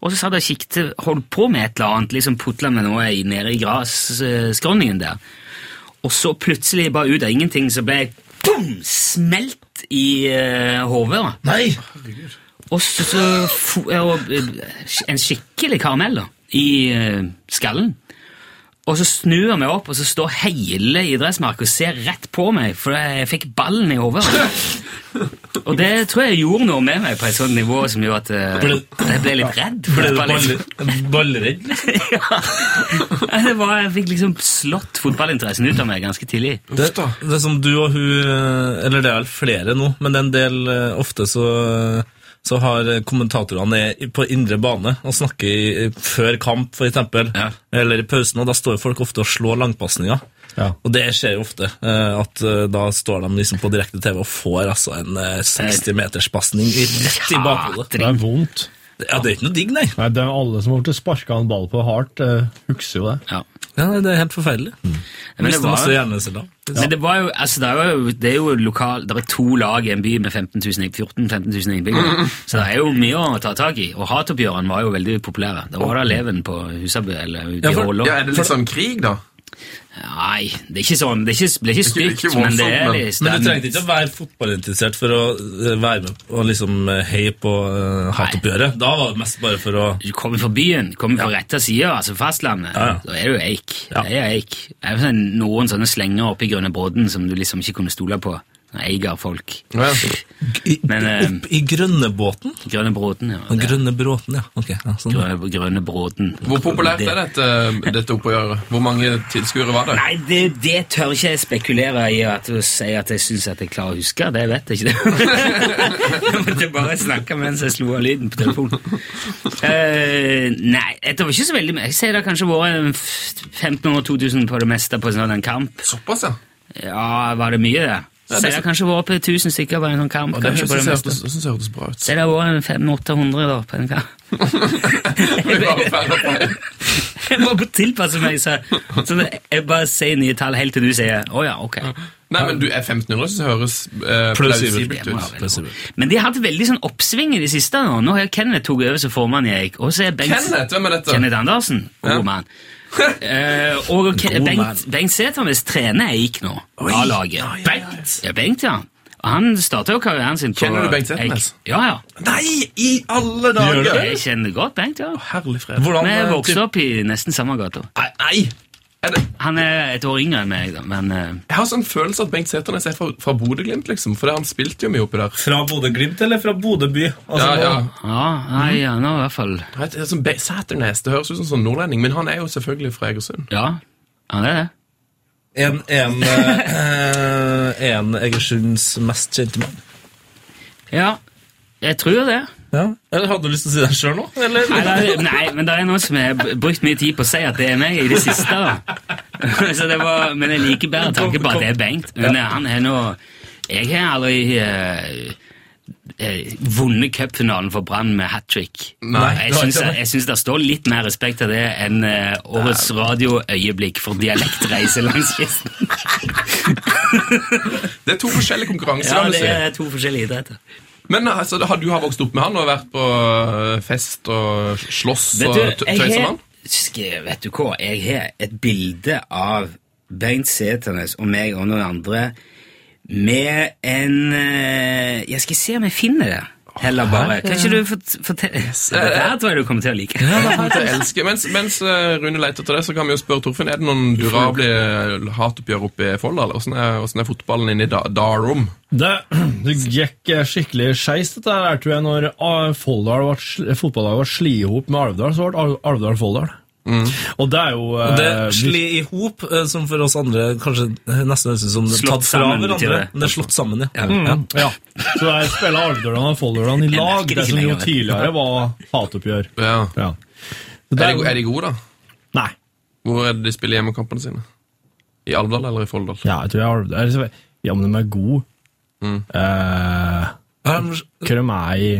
Og så satt jeg og kikket, holdt på med et eller annet, liksom putla med noe i- nede i grasskråningen der. Og så plutselig, bare ut av ingenting, så ble jeg boom, smelt i uh, hodet. da.
Nei!
Og så, så fo- og, eh, en skikkelig karamell da, i eh, skallen. Og så snur jeg meg opp, og så står hele idrettsmarka og ser rett på meg, for jeg fikk ballen i hodet. Og det tror jeg gjorde noe med meg på et sånt nivå som gjorde at eh, jeg ble litt redd. for
Ble du
fotball, liksom.
baller- ballredd?
ja. det var, jeg fikk liksom slått fotballinteressen ut av meg ganske tidlig.
Det, det er som du og hun eh, Eller det er vel flere nå, men det er en del eh, ofte så eh, så har kommentatorene er på indre bane og snakker i- i- før kamp, for eksempel,
Ja.
eller i pausen, og da står folk ofte og slår langpasninger.
Ja.
Og det skjer jo ofte, eh, at eh, da står de liksom på direkte TV og får altså en eh, 60 meters pasning i- rett i
Ah,
bakhodet.
Det er vondt.
Ja, det er ikke noe digg, nei.
Nei, det er alle som har blitt sparka en ball på hardt, eh, husker jo det.
Ja.
Ja, nei, det er helt forferdelig.
Men det
Mm. Mister masse
var,
hjerneceller.
Men det var jo, altså det er jo, det er jo lokal, det er to lag i en by med 14-15 000 innbyggere,
Mm.
så det er jo mye å ta tak i, og hatoppgjørene var jo veldig populære. Da var det eleven på Husabø, eller ute i
for-
Hålå.
Mm. Ja, er det litt sånn krig, da?
Nei, det er ikke sånn, det er ikke, blir
Det
ikke
er ikke-
stygt,
ikke
men det
voldsomt,
er
men-
litt
Men du trengte ikke å være fotballinteressert for å eh, være med og liksom eh, heie på uh, hatoppgjøret. Da var det mest bare for å
Du kommer fra byen, kommer fra rette sida, altså fastlandet,
Ja, ja.
da er du eik. Det er eik. Det er jo sånn, noen sånne slenger oppe i grønne brodden som du liksom ikke kunne stole på. Eier folk.
Ja.
I,
Men, eh,
Opp i grønnebåten?
Grønne brodden, ja.
Den
det er
grønne bråten, ja. Ok, ja, sånn.
Grønne, grønne brodden.
Hvor populært er dette, eh, dette oppgjøret? Hvor mange tilskuere var det?
Nei, det, det tør ikke jeg spekulere i at å si at jeg syns at jeg klarer å huske. Det vet jeg ikke. jeg måtte bare snakke mens jeg slo av lyden på telefonen. Eh, nei, det var ikke så veldig mye. Jeg ser det har kanskje vært en f- 1500-2000 på det meste på en sånn en kamp.
Såpass, ja.
Ja, var det mye, det?
det
Så det har kanskje vært på 1000 stykker på en sånn kamp.
Og det
kanskje
synes
på det
jeg
meste.
hørtes- synes jeg hørtes bra ut.
Så det har vært en 500-800 da, på en kamp.
Det var færre og færre.
Jeg må tilpasse meg, så, så det- jeg bare sier nye tall helt til du sier å ja, ok.
Nei, men du, er 1500 synes jeg høres eh, plausibelt
Det må være
ut.
veldig bra. Men de har hatt veldig sånn oppsving i det siste. Nå Nå har jo Kenneth tatt over som formann i Eik. Og så er Bengt,
Kenneth, hvem er dette?
Kenneth Andersen. God
Ja.
mann. Eh, og Ke
God
Bengt, Bengt Sæternes trener Eik nå. A-laget. Bengt! Ja, Bengt, ja. Og han starta jo karrieren sin på
Kjenner du Bengt
Eik.
Sæthernes?
Ja, ja.
Nei, i alle dager!
Jeg kjenner godt Bengt, ja.
Herlig fred.
Hvordan,
Vi
eh,
vokste
typ-
opp i nesten samme gata.
Nei, nei. Er det,
Han er et år yngre enn meg, da, men eh,
jeg har sånn følelse at Bengt Sæternes er fra, fra Bodø-Glimt, liksom. For det- han spilte jo mye oppi der.
Fra Bodø-Glimt eller fra Bodø by? Altså,
Ja, ja.
ja, nei, ja, nå i hvert fall
Nei, det er sånn Be- Sæternes, det høres ut som en sånn nordlending, men han er jo selvfølgelig fra Egersund.
Ja, han er det.
En, en, eh, eh, en Egersunds mest kjente mann.
Ja, jeg tror det.
Ja. Eller hadde du lyst til å si det sjøl nå? Eller?
Nei, det er- nei, men det er noen som har b- brukt mye tid på å si at det er meg i det siste. da. Så det var, men jeg liker bedre tanken på at det er Bengt. Men eh, han er nå Jeg har aldri eh, eh, vunnet cupfinalen for Brann med hat trick.
Nei,
jeg syns, jeg syns det står litt mer respekt av det enn eh, årets radioøyeblikk for dialektreise langs kysten.
Det er to forskjellige konkurranser.
Ja,
kan du
det
si.
er to forskjellige idretter.
Men altså, har du har vokst opp med han og vært på øh, fest og slåss og tø- tøys
jeg
med
har,
han?
Sk- vet du hva, jeg har et bilde av Bengt Sæternes og meg og noen andre med en eh, Jeg skal se om jeg finner det. Heller bare. Kan ikke du fort- fortelle Det der tror jeg du kommer til å like.
Jeg kommer til å elske. Mens, mens øh, Rune leter etter det, så kan vi jo spørre Torfinn, er det noen durable hatoppgjør oppe i Folda, eller hvordan er, hvordan er fotballen inne i da, Darum?
Det, det gikk eh, skikkelig skeis, dette eh, her, tror jeg, når ah, Folldal ble sl- fotballaget ble slått ihop med Alvdal, så ble Al- Alvdal Folldal. Og det er jo eh,
Mm. Det sli i hop, eh, som for oss andre kanskje nesten høres ut som det er
Slått
tatt fra
sammen, betyr
hverandre.
det.
Men det er slått sammen, ja. ja.
Mm, ja. Så der spiller Alvdølene og Folldølene i lag,
merker
det
ikke
som jo
lenger, vet du.
tidligere var hatoppgjør.
Ja.
Ja.
Er, de, go- er de gode, da?
Nei.
Hvor er det de spiller hjemmekampene sine? I Alvdal eller i Folldal?
Ja, jeg tror jeg Alvdøl er så- Ja, men de er gode.
Mm.
Eh,
Har de-
hva de er i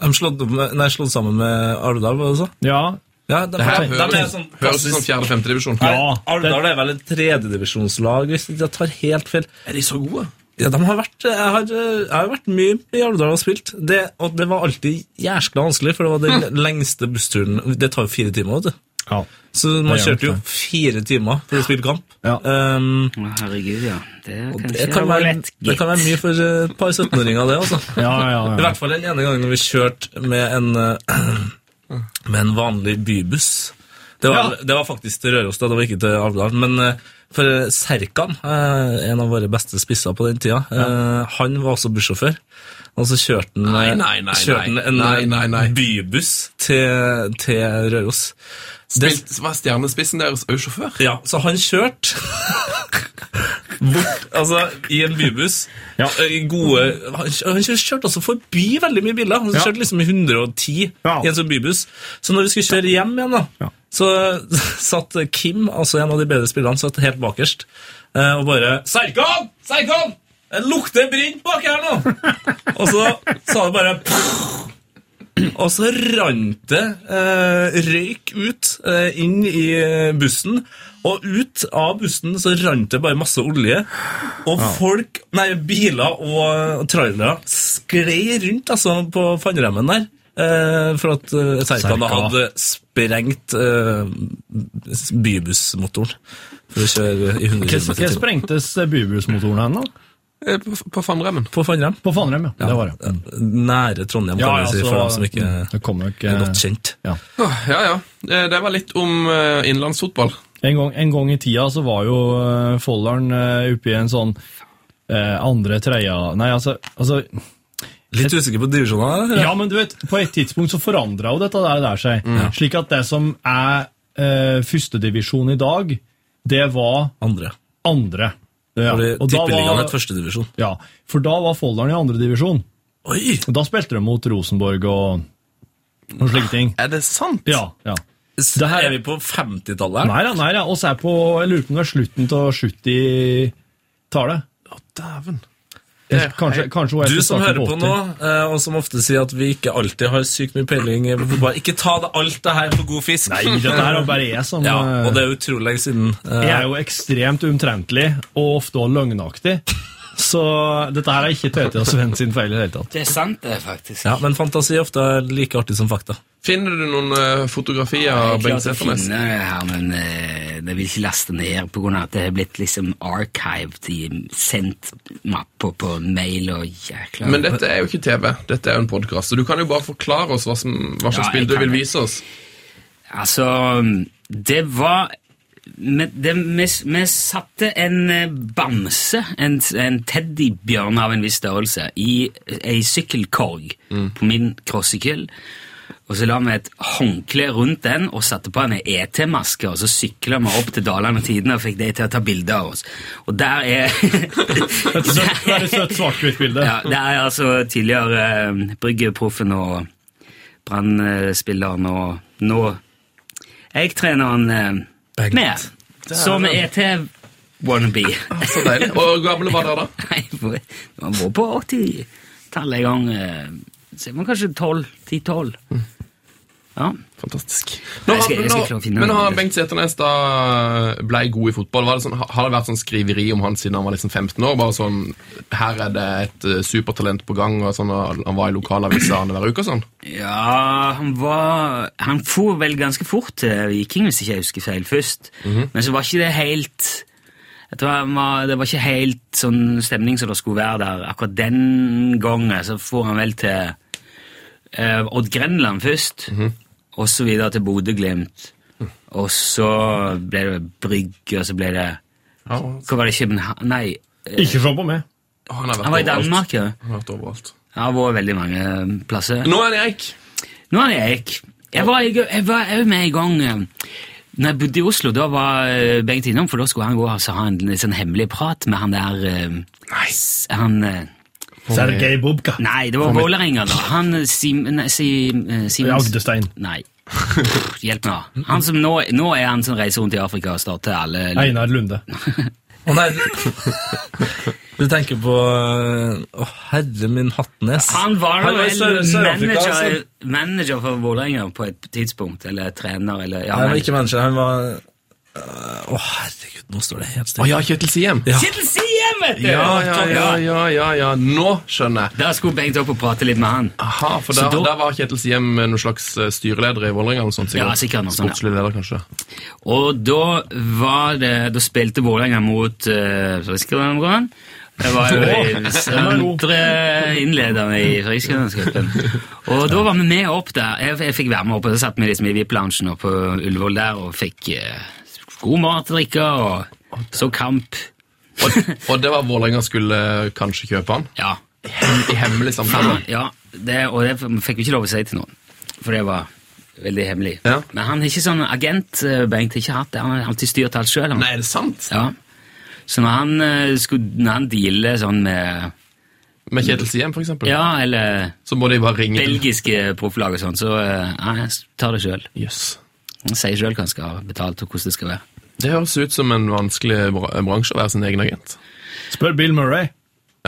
har de slått, opp med, nei, slått sammen med Alvdal, var det så?
Ja,
Ja, de,
Det her
de, er sånn
høres, høres ut som
klassisk-
fjerde-femtedivisjon.
Ja,
Alvdal er vel et tredjedivisjonslag, hvis ikke jeg tar helt feil.
Er de så gode?
Ja, de har vært, jeg, har, jeg har vært mye i Alvdal og spilt, det, og det var alltid jæskla vanskelig, for det var den lengste bussturen. Det tar jo fire timer, vet du.
ja.
Så man
Det gjør
kjørte jo
det.
fire timer for å spille kamp.
Ja.
Um,
Å, Herregud, ja. Det er
og
kanskje
det, kan
var
være,
lett,
det kan være mye for eh, et par 17-åringer, det, altså.
ja, ja,
I
ja.
hvert fall den ene gangen når vi kjørte med en, eh, med en vanlig bybuss. Det var, det var faktisk til Røros, da, det var ikke til Alvdal. Men eh, for eh, Serkan, eh, en av våre beste spisser på den tida, eh, han var også bussjåfør. Og så kjørte han, eh,
Nei, nei, nei,
kjørte han
nei.
en eh,
Nei, nei, nei.
bybuss til, til Røros.
Spilt, var stjernespissen deres òg sjåfør?
Ja, så han kjørte bort, altså, i en bybuss.
Ja.
I gode, han, han kjørte også forbi veldig mye biler. Han
Ja.
kjørte liksom i 110
Ja.
i en sånn bybuss. Så når vi skulle kjøre hjem igjen, da,
Ja.
så satt Kim, altså en av de bedre spillerne, satt helt bakerst eh, og bare Serkan! Serkan! Det lukter brint bak her nå! og så sa det bare og så rant det eh, røyk ut eh, inn i eh, bussen, og ut av bussen så rant det bare masse olje. Og folk, nei, biler og trailere sklei rundt altså, på fannremmen der. eh, for at eh, Serkan da
Serkan.
hadde sprengt eh, s- bybussmotoren for å kjøre i 100 km
Hva
i
hva
timen.
sprengtes eh, bubussmotoren hen, da?
Eh, På, på Fannremmen.
På Fannrem.
På Fannrem, ja. Det var det.
Nære Trondheim, kan vi si, for dem som ikke
det kommer jo ikke
er godt kjent.
Åh, Ja, ja. Eh, Det var litt om eh, innenlandsfotball.
En gang, en gang i tida så var jo eh, Folldalen eh, oppe i en sånn eh, andre, tredje Nei, altså, altså
Litt usikker på divisjonene? eller?
Ja, men du vet, på et tidspunkt så forandra jo dette der, der seg. Slik at det som er eh, førstedivisjon i dag, det var
Andre.
andre. Ja,
Fordi
og da
Tippeligaen
var,
het førstedivisjon.
ja, for da var Folldalen i andredivisjon.
Oi!
Og da spilte de mot Rosenborg og, og slike ting.
Er det sant?
Ja, ja.
Det her er vi på 50-tallet. her.
Nei da, nei da. Oss er på Jeg lurer på om det er slutten av 70-tallet.
Å, dæven.
Kanskje, kanskje hun er
Du
til
som
starten
hører på
80.
nå, eh, og som ofte sier at vi ikke alltid har sykt mye peiling på fotball, ikke ta det alt det her for god fisk.
Nei, dette her er bare jeg som
Ja, og det
eh,
er utrolig lenge siden. eh,
Jeg er jo ekstremt umtrentlig, og ofte også løgnaktig. Så dette her er ikke Tøyte og Sven sin feil i det hele tatt.
Det er sant, det, faktisk.
ja, men fantasi er ofte like artig som fakta.
Finner du noen eh, fotografier
Jeg
av
har
Bengt
klart å
Seternes?
finne det her, men eh, det vil ikke laste ned på grunn av at det er blitt liksom archived i sendt mapper på mail og jækla
Men dette er jo ikke TV, dette er jo en podkast. Så du kan jo bare forklare oss hva, som, hva slags
Ja, jeg
bilde du
kan
vil
det.
vise oss.
Altså, det var men det, vi, vi satte en eh, bamse, en, en teddybjørn av en viss størrelse, i ei sykkelkorg på min crossykkel. Og så la vi et håndkle rundt den og satte på en ET-maske, og så sykla vi opp til Dalane Tidende og fikk de til å ta bilde av oss. Og der er
Det er et søtt- det er et søtt svart-hvitt bilde.
ja, det er altså tidligere eh, Brygge-proffen og Brann-spilleren og nå Jeg trener han eh, mer, som ET-wannabe.
Så deilig. Og hvor gamle var dere da?
Nei, for- Han var på 80-tallet en gang. eh, Så jeg var kanskje 12, 10-12. Ja.
Fantastisk.
Nei,
Nå,
jeg skal- jeg skal
nå-
klare å finne
men
noen
har
bilder.
Bengt Seternes da blei god i fotball? Var det sånn, har det vært sånn skriveri om han siden han var liksom 15 år? Bare sånn Her er det et eh, supertalent på gang, og sånn, og han var i lokalavisa annenhver uke og sånn?
Ja, han var Han for vel ganske fort til Viking, hvis ikke jeg husker feil, først. Men så var ikke det helt jeg tror han var, Det var ikke helt sånn stemning som det skulle være der akkurat den gangen. Så for han vel til eh, Odd Grenland først, og så videre til Bodø-Glimt. Og så ble det Brygge, og så ble det
Ja, han
Hva var det, København Nei,
Ikke se på meg.
har vært
han var i
overalt.
Danmark, ja.
Han har vært overalt.
Han har vært veldig mange plasser.
Nå er han i Eik.
Nå er det Eik. Jeg var, i- jeg var jeg var med i gang eh, når jeg bodde i Oslo, da var eh, Bengt innom, for da skulle han gå og så ha en litt sånn hemmelig prat med han der nice. han, eh,
Sergej Bubka.
Nei, det var Vålerenga, da. Han eh, Sim... Nei, Sim, eh, Simons-
Agdestein.
Nei. Hjelp meg. da. Han som nå, nå er han som reiser rundt i Afrika og starter alle
Einar Lunde.
Å nei, du, du tenker på eh, Å, herre min hattnes.
Han var
Han
da
var i
vel
Sør- Sør-Afrika,
manager,
altså.
manager for Vålerenga på et tidspunkt, eller trener, eller ja,
Nei, han var
manager.
ikke menneske, han var eh, Å, herregud, nå står det helt
Å
stille.
ja, Kjetil Siem. Ja.
Kjetil Siem, vet du!
Ja, ja, ja, ja, ja, Nå skjønner jeg.
Der skulle Bengt opp og prate litt med han.
Aha, for
Så
der,
da-
der var Kjetil Siem eh, noen slags eh, styreleder i Vålerenga eller noe sånt.
Ja, sikkert noe sånt, ja.
Sportslig leder, kanskje.
Og da var det Da spilte Vålerenga mot uh, Friskerdalen. Det var jo i andre innlederne i Friskerdalsgruppen. Og da var vi med opp der. Jeg, jeg fikk være med opp, og så satt vi liksom i VIP-loungen oppe på Ullevål der og fikk eh, god mat og drikke, og så kamp.
Og, og det var Vålerenga skulle eh, kanskje kjøpe han?
Ja.
I hemmelig samtale?
Faen, ja. Det, og det fikk vi ikke lov å si til noen, for det var veldig hemmelig.
Ja.
Men han er ikke sånn agent, eh, Bengt. Ikke hatt det. Han har alltid styrt alt sjøl.
Nei, er det sant?
Ja. Så når han, eh, skulle, når han dealer sånn med
Med Kjetil Siem, for eksempel?
Ja, eller
Så må de bare ringe til-
belgiske profflag og sånn, så eh, nei, jeg tar det sjøl.
Jøss.
Han sier sjøl hva han skal ha betalt, og hvordan det skal være.
Det høres ut som en vanskelig bra- bransje å være sin egen agent.
Spør Bill Murray.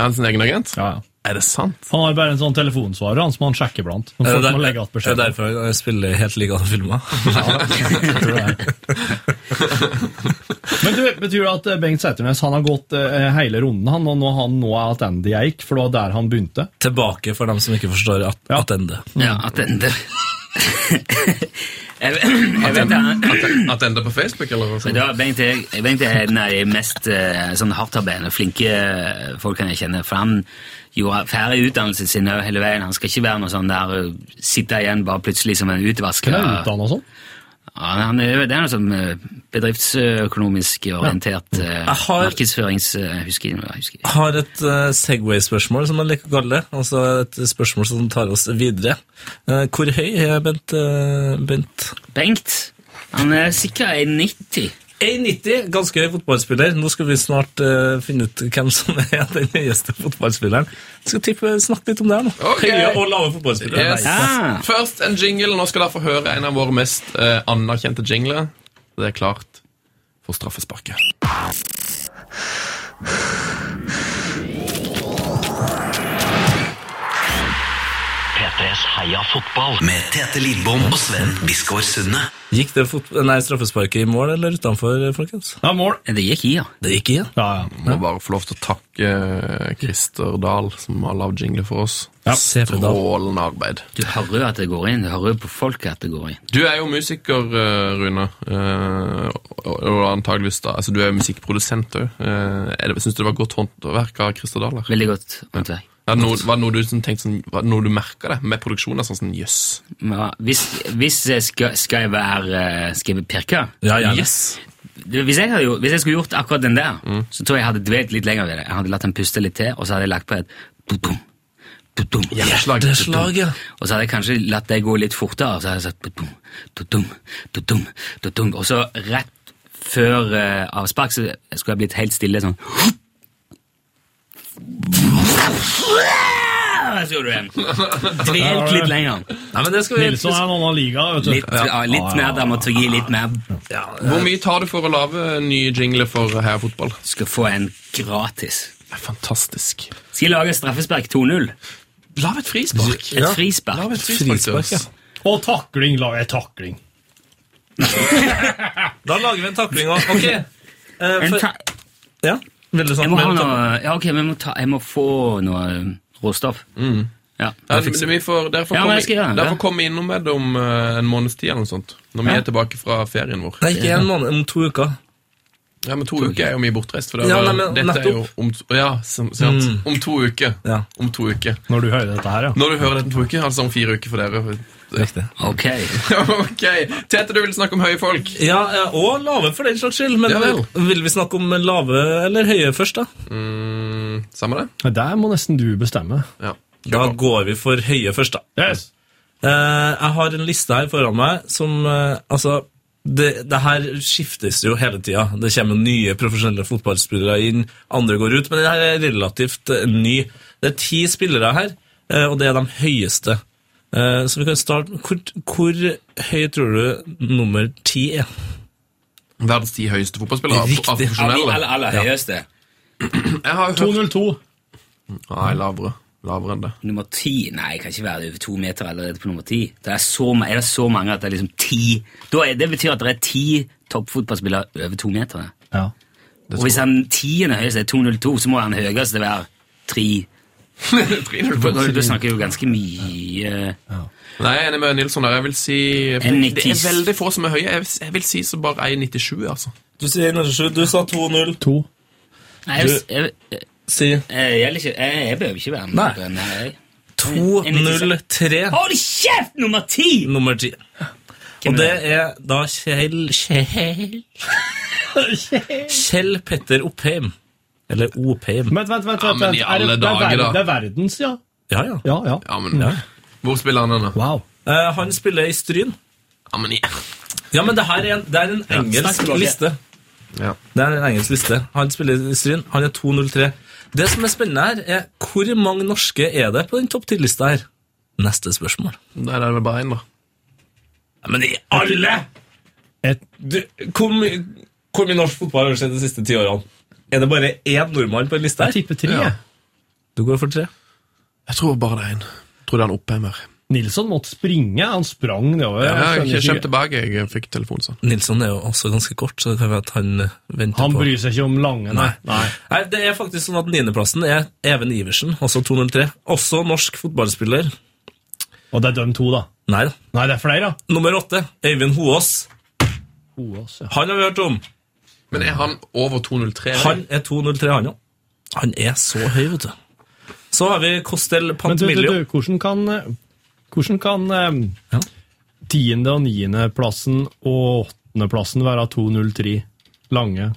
Er han sin egen agent?
Ja, ja.
Er det sant?
Han har bare en sånn telefonsvarer han som han sjekker blant. Han
Er det
får ikke
der-
å legge
er
alt
det
beskjed.
derfor han spiller helt like han filma?
Men du, betyr det at eh, Bengt Sæternes han har gått eh, hele runden, han, og nå, han, nå er Attendi Eik, for det var der han begynte?
Tilbake for dem som ikke forstår at,
Ja.
at ende.
Ja, at den det jeg, jeg vet han-
At, at det ender på Facebook, eller noe sånt?
da, Bengt er, Bengt er en av de mest eh, sånn hardtarbeidende, flinke folkene jeg kjenner. For han gjorde ferdig utdannelsen sin også hele veien. Han skal ikke være noe sånn der eh, sitte igjen bare plutselig som en utvasker.
Hvem er utdannet og sånn?
Ja, han er, det er noe sånn eh, bedriftsøkonomisk orientert eh,
Jeg har-
markedsførings... eh, jeg husker, jeg husker. ikke.
Jeg har et eh, Segway-spørsmål, som man liker å kalle det. Altså et spørsmål som tar oss videre. Eh, hvor høy er Bent? eh, Bent?
Bengt, han eh, er sikkert 1,90.
1,90, ganske høy fotballspiller. Nå skal vi snart eh, finne ut hvem som er den høyeste fotballspilleren. Jeg skal tippe, snakke litt om det her nå.
Ok.
Høye og lave fotballspillere.
Yes.
Nei.
Ah,
Først en jingle. Nå skal dere få høre en av våre mest eh, anerkjente jingler. Det er klart for straffesparket.
P3s Heia fotball med Tete Lidbom og Sven Biskår Sunne.
Gikk det fot nei, straffesparket i mål eller utenfor, folkens?
Ja, mål.
det gikk i, ja.
Det gikk i, ja.
Ja, ja.
Må bare få lov til å takke eh, Christer Dahl, som har lagd jingle for oss.
Se for deg.
Strålende arbeid.
Du hører jo at det går inn. Du hører jo på folket at det går inn.
Du er jo musiker, eh, Rune. eh, og, og antageligvis da, altså Du er jo musikkprodusent òg. Syns du det var godt håndverk av Christer Dahl? her?
Veldig godt håndverk.
Er det noe, var det noe du som tenkte sånn, var det noe du merka det med produksjoner? Sånn sånn, jøss.
Ja, hvis, hvis jeg skal, skal jeg være eh, Skal jeg pirke?
Ja, gjerne.
Du, Hvis jeg, hadde, gjort- hvis jeg skulle gjort akkurat den der, så tror jeg jeg hadde dvelt litt lenger ved det. Jeg hadde latt den puste litt til, og så hadde jeg lagt på et budum, budum,
Hjerteslag.
Hjerteslag, ja.
Og så hadde jeg kanskje latt det gå litt fortere, så hadde jeg sagt budum, budum, budum, budum. Og så rett før eh, avspark så skulle jeg blitt helt stille sånn. Der skulle du igjen. Dvelt litt lenger.
Nei, men det skal vi
Nilsson er en annen liga, vet du.
Litt, ja, litt mer dramaturgi, litt mer
Hvor mye tar du for å lage nye jingler for eh, heiafotball?
Du skal få en gratis.
Fantastisk.
Skal jeg lage straffespark 2-0?
Lag et frispark.
Et frispark.
Lag et
Frispark,
frispark,
ja.
ja.
Og takling la jeg takling.
Da lager vi en takling òg. Ok. Eh,
En
for,
ta
ja. Veldig
jeg
sant.
må ha
Men-
noe Ja, ok, men jeg må, ta, jeg må få noe eh, råstoff. Ja.
Ja, men vi får, dere får
Ja, men
komme,
jeg skal gjøre det.
dere får komme innom med det om eh, en måneds tid eller noe sånt. Når vi
Ja.
er tilbake fra ferien vår.
Nei, ikke en måned, om to uker.
Ja, men To uker er jo mye bortreist. For det,
Ja,
er-
nei, men
dette er jo
nettopp. Mm.
om, to- ja, som, sant. om to uker.
Ja.
Om to uker.
Når du hører dette her, ja.
Når du hører dette om to uker, altså om fire uker for dere.
Riktig.
Ok.
ok, Tete, du vil snakke om høye folk.
Ja, eh, og lave for den slags skyld. Men
Ja vel.
vil vi snakke om lave eller høye først, da?
Mm, Samme det?
Men Der må nesten du bestemme.
Ja.
Da går vi for høye først, da.
Yes!
Eh, jeg har en liste her foran meg som eh, Altså, det, det her skiftes jo hele tida. Det kommer nye profesjonelle fotballspillere inn, andre går ut, men den her er relativt eh, ny. Det er ti spillere her, eh, og det er de høyeste. Eh, så vi kan starte Hvor, hvor høy tror du nummer ti er?
Verdens ti høyeste fotballspillere. av-
Riktig.
Av profesjonelle.
aller høyeste.
Jeg har jo hørt
202.
Nei, lavere. Lavere enn det.
Nummer ti? Nei, jeg kan ikke være over to meter allerede på nummer ti. Det er så, ma- er det så mange at det er liksom ti da er, Det betyr at det er ti toppfotballspillere over to meter.
Ja.
Og hvis han tiende høyeste er 2,02, så må han høyeste være tre. Da da snakker jeg jo ganske mye
Nei, jeg er enig med Nilsson der. Jeg vil si Det er
1,90.
veldig få som er høye. Jeg vil, jeg vil si så bare 1,97, altså.
Du sier 97. Du sa 2-0.
Nei, jeg, jeg, jeg,
Si
Eh, jeg, gjelder ikke- jeg, jeg behøver ikke være med.
Nei.
på den her, jeg.
2-0-3.
Hold kjeft, nummer ti!
Nummer 10. Og
Hvem er
det er da Kjell Kjell Kjell Petter Oppheim. Eller Opheim.
Vent, vent, vent.
Ja,
vent,
men i
vent. Er
alle
det, det, er
dager, da.
ver- det er verdens, ja.
Ja, ja.
Ja, ja.
Ja, men Hvor spiller han den, da?
Wow.
Eh, han spiller i Stryn.
Ja, men ja.
Ja, men det her er en, det er en engelsk
språket.
liste.
Ja.
Det er en engelsk liste. Han spiller i Stryn. Han er 2-0-3. Det som er spennende her, er hvor mange norske er det på den topp 10-lista her? Neste spørsmål.
Nei, det er vel bare én, da.
Ja, men i alle!
Et,
Du, hvor, my hvor mye norsk fotball har skjedd de siste ti årene? Er det bare én nordmann på en liste
jeg
her?
tipper tre.
Ja.
Du går for tre.
Jeg tror bare det er én. Tror det er han Oppheim her.
Nilsson måtte springe. Han sprang nedover.
Ja,
Jeg skjønner
jeg
ikke-
kommer tilbake. Jeg fikk telefonen sånn.
Nilsson er jo også ganske kort, så det kan være at han eh, venter
Han
på
bryr seg ikke om lange, nei.
Nei. Nei, det er faktisk sånn at niendeplassen er Even Iversen, også 203. Også norsk fotballspiller.
Og det er dem to, da.
Nei da.
Nei, det er flere, da.
Nummer åtte, Øyvind Hoås.
Hoas, ja.
Han har vi hørt om.
Men er han over 2,03?
Han er 203, han òg. Han er så høy, vet du. Så har vi Costel
Men du, du,
Pantemilio.
du, hvordan kan, eh, hvordan kan eh,
Ja.
tiende- og niendeplassen og åttendeplassen være 203 lange?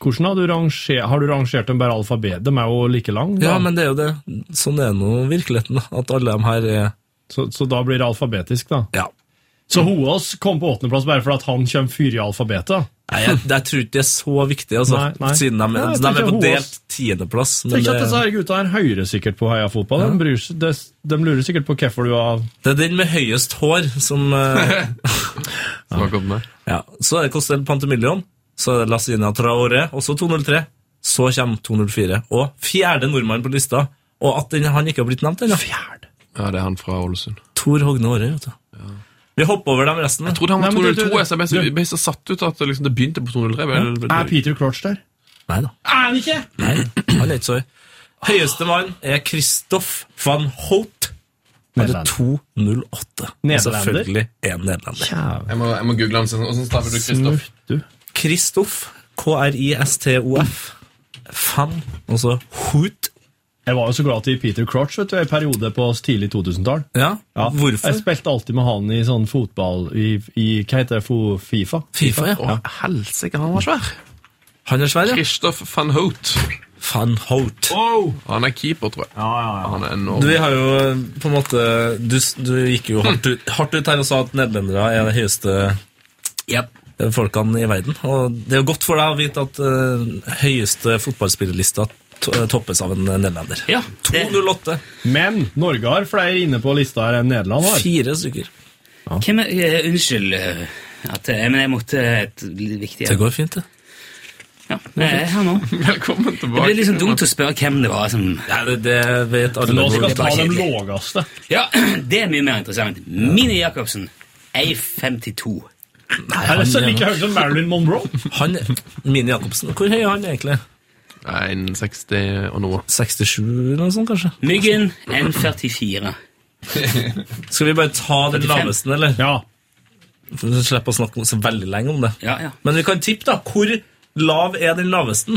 Hvordan har du rangert, har du rangert dem bare alfabet? De er jo like lange, da.
Ja, men det er jo det. Sånn er nå virkeligheten, da, at alle dem her er
så, så da blir det alfabetisk, da.
Ja.
Så Hoas kom på åttendeplass bare fordi at han kommer fyr i alfabetet?
Nei, jeg, jeg tror ikke det er så viktig, altså.
Nei, nei.
Siden de,
Nei, jeg
de
tror
er
ikke
på
Hoas-
delt tiendeplass. Men
Tenk at disse
det,
her gutta her hører sikkert på Heia Fotball. De, bryr, seg- de, de lurer sikkert på hvorfor du har
det er den med høyest hår som eh,
som har kommet med.
ja. Så er det Costel Pantemillion, så er det Lassina Traore, også 203. Så kommer 204. Og fjerde nordmann på lista. Og at den, han ikke har blitt nevnt ennå.
Ja, det er han fra Ålesund.
Tor Hogne Aare, vet du. Vi hopper over dem resten.
Jeg trodde han var
Nei, men du-
2,02. Jeg ble så-
du-
jeg ble så satt ut at det liksom, det begynte på 2,03. men-
Er Peter Crouch der?
Nei da.
Er han ikke?
Nei, han er ikke så høy. Høyeste mann er Christoph van Hout. Han er
Nederland.
208. Og
Nederlander?
Selvfølgelig en nederlender.
Jeg må, jeg må google han. sånn- Hvordan staver du Kristoff?
Smurt, du.
Kristoff, K-R-I-S-T-O-F, fan, og så altså hoot.
Jeg var jo så glad til Peter Crouch vet du, i en periode på tidlig 2000-tall.
Ja,
Ja.
hvorfor?
Jeg spilte alltid med han i sånn fotball i, i Hva heter det? fo- Fifa?
FIFA, ja.
Å, helsike, han var svær.
Han er svær, ja.
Kristoff van Hout.
Van Hout.
Han er keeper, tror jeg. Han er enorm.
Du har jo eh, på en måte, du, s- du gikk jo hardt ut, hardt ut her og sa at nederlendere er de høyeste
Yep.
eh, folkene i verden. Og det er jo godt for deg å vite at eh, høyeste fotballspillerlista to- eh, toppes av en nederlender.
Ja, det-
208.
Men Norge har flere inne på lista her enn Nederland har.
Fire stykker.
Hvem er, eh, unnskyld eh, at eh, Men jeg måtte et litt viktig
Det går fint, det.
Ja, jeg er her nå.
Velkommen
Det
tilbake.
blir liksom dumt å spørre hvem det var som
Ja, det, det vet alle.
Nå skal vi
Det er
ta
bare
den
kjedelig.
lågeste.
Ja, det er mye mer interessant. Mini Jacobsen, 1,52.
Nei,
Er det så
han-
like høy som Marilyn Monroe?
Han, Mini Jacobsen, hvor høy er han egentlig?
Nei, en 60 og noe.
67 eller noe sånt, kanskje?
Myggen, 1,44.
Skal vi bare ta den
45?
laveste, eller?
Ja.
For å slippe å snakke så veldig lenge om det.
Ja, ja.
Men vi kan tippe, da. Hvor lav er den laveste?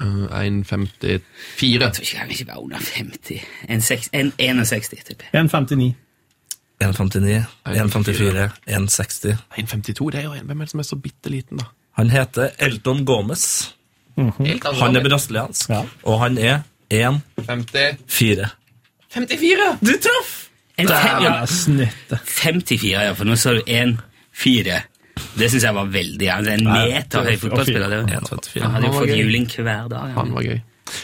Eh, 1,54.
Jeg tror ikke han ikke var under 50. En, seks- en 61, tipper jeg.
1,59.
1,59, 1,54, 1,60.
1,52, det er jo en. Hvem er det som er så bitte liten, da?
Han heter Elton Gomez. Han er brasiliansk,
Ja.
og han er 1,4.
50.
Du traff!
En fem, ja,
Snøtte.
54, ja, for nå sa du 1-4. Det syns jeg var veldig ja. Det er en meter høy fotballspiller. det. Han hadde jo fått juling hver dag.
Han
Han.
var gøy.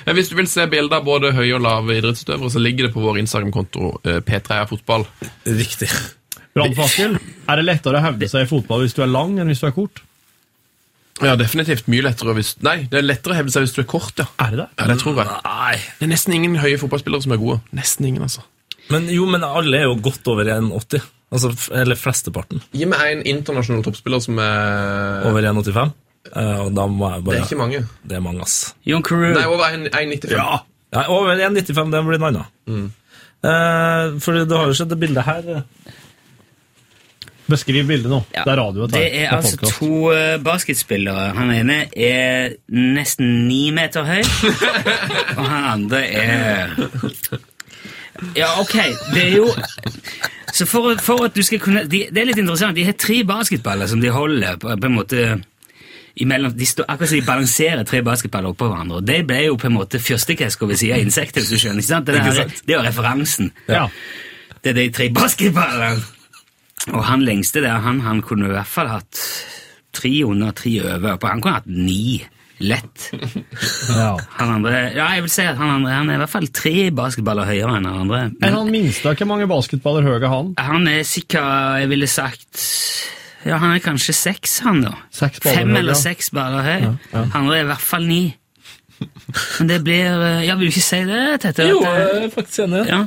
Eh, Hvis du vil se bilder av både høye og lave idrettsutøvere, så ligger det på vår Instagram-konto eh, P3 fotball.
Riktig.
Brannfakkel. Er det lettere å hevde seg i fotball hvis du er lang enn hvis du er kort?
Ja, definitivt mye lettere hvis Nei, det er lettere å hevde seg hvis du er kort, ja.
Er det det?
Ja, det tror jeg. Det er nesten ingen høye fotballspillere som er gode. Nesten ingen, altså.
Men jo, men alle er jo godt over 1,80. Altså, f- eller flesteparten.
Gi meg en internasjonal toppspiller som er
Over 1,85. Eh, og da må jeg bare
Det er ikke mange.
Det er mange, ass.
John Carew.
Nei, over 1- 1,95. Ja.
Ja, over 1,95, det blir en annen. Eh, for du har jo sett det bildet her.
Beskriv bildet nå.
Ja.
Det er radio. dette her.
Det er altså
podcast.
to eh, basketspillere. Han ene er nesten ni meter høy, og han andre er Ja, ok, det er jo Så for, at- for at du skal kunne de, Det er litt interessant. De har tre basketballer som de holder på, på en måte imellom, de står, akkurat som de balanserer tre basketballer oppå hverandre. og De ble jo på en måte fyrstikkesker ved siden av insekter. hvis du skjønner, ikke sant? Det, der, det er jo referansen.
Ja.
Det er de tre basketballene. Og han lengste der, han, han kunne i hvert fall hatt tre under, tre over. på- Han kunne hatt ni. Lett.
Ja.
Han andre, ja, jeg vil si at han andre han er i hvert fall tre basketballer høyere enn han andre.
Er
Men
han minste? Hvor mange basketballer høy er han?
han er sikkert, jeg ville sagt Ja, han er kanskje seks, han, da.
Seks baller
Fem
høy,
eller
ja.
seks baller høy. Han andre er i hvert fall ni. Men det blir eh, Ja, vil du ikke si det, Tete?
Jo, eh,
At det-
jeg er faktisk enig.
ja.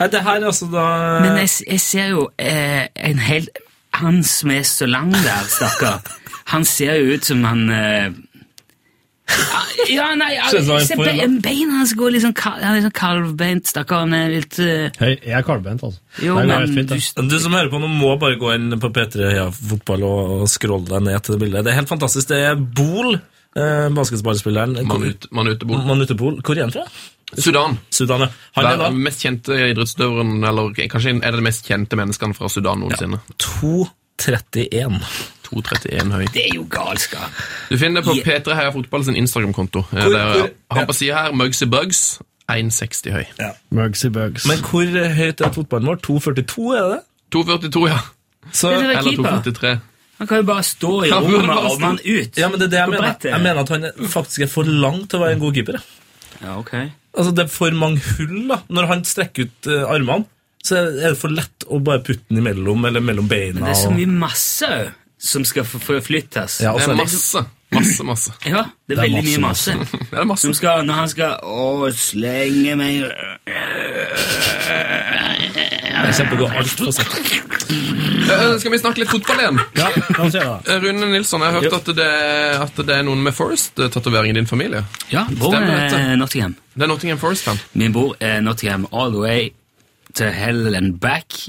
Nei, det her er altså da
Men jeg, jeg ser jo eh, en hel Han som er så lang der, stakkar. Han ser jo ut som han eh, Ja, nei ja,
Ser ut som han
se,
får en
be, Beina hans går litt sånn, kal, han er litt sånn kalvbeint, stakkar. Han er litt eh,
Hei, jeg er kalvbent, altså.
Jo,
det er
men
helt fint,
du,
det.
Du som hører på nå, må bare gå inn på P3 Heia Fotball og, og scrolle deg ned til det bildet. Det er helt fantastisk. Det er Bol, eh, basketballspilleren
Manut, Manutebol.
Manutebol. Hvor er han fra?
Sudan.
Sudan, ja. Han
Det
er
er
da
den mest kjente idrettsutøveren, eller kanskje en- en av de mest kjente menneskene fra Sudan noensinne.
2,31.
2,31 høy.
det er jo galskap.
Du finner det på P3 Heia Fotball sin Instagram-konto. Eh,
hvor-
der- Han på sida her, Mugsy Bugs, 1,60 høy.
Mugsy Bugs.
Men hvor høyt er fotballen vår? 2,42, er det det?
2,42, ja.
Så,
Men det var
Eller
keeper.
2,43.
Han kan jo bare stå i
Han burde
rommet
bare
og
stå-
arme han ut.
ja, men det er det jeg
På
mener.
brettet.
Jeg mener at han er- faktisk er for lang til å være en god keeper. ja.
Ja, ok.
Altså, det er for mange hull, da. Når han strekker ut eh, armene, så er det for lett å bare putte den imellom, eller mellom beina.
Men det er så
og-
mye masse òg som skal få- forflyttes.
Ja, og
Altså, Det
så
er
er det
masse. Masse, masse.
Ja, det er veldig mye masse.
Det er masse.
Som skal, når han skal Å, slenge meg
Jeg kjemper å gå alt for sent.
Eh, eh, Skal vi snakke litt fotball igjen?
Ja, la oss gjøre det.
Eh, Rune Nilsson, jeg har hørt at det, at det er noen med Forest-tatovering i din familie.
Ja, bror
Stemmer dette?
er Nottingham.
Det er Nottingham Forest-fan.
Min bror er Nottingham all the way to hell and back.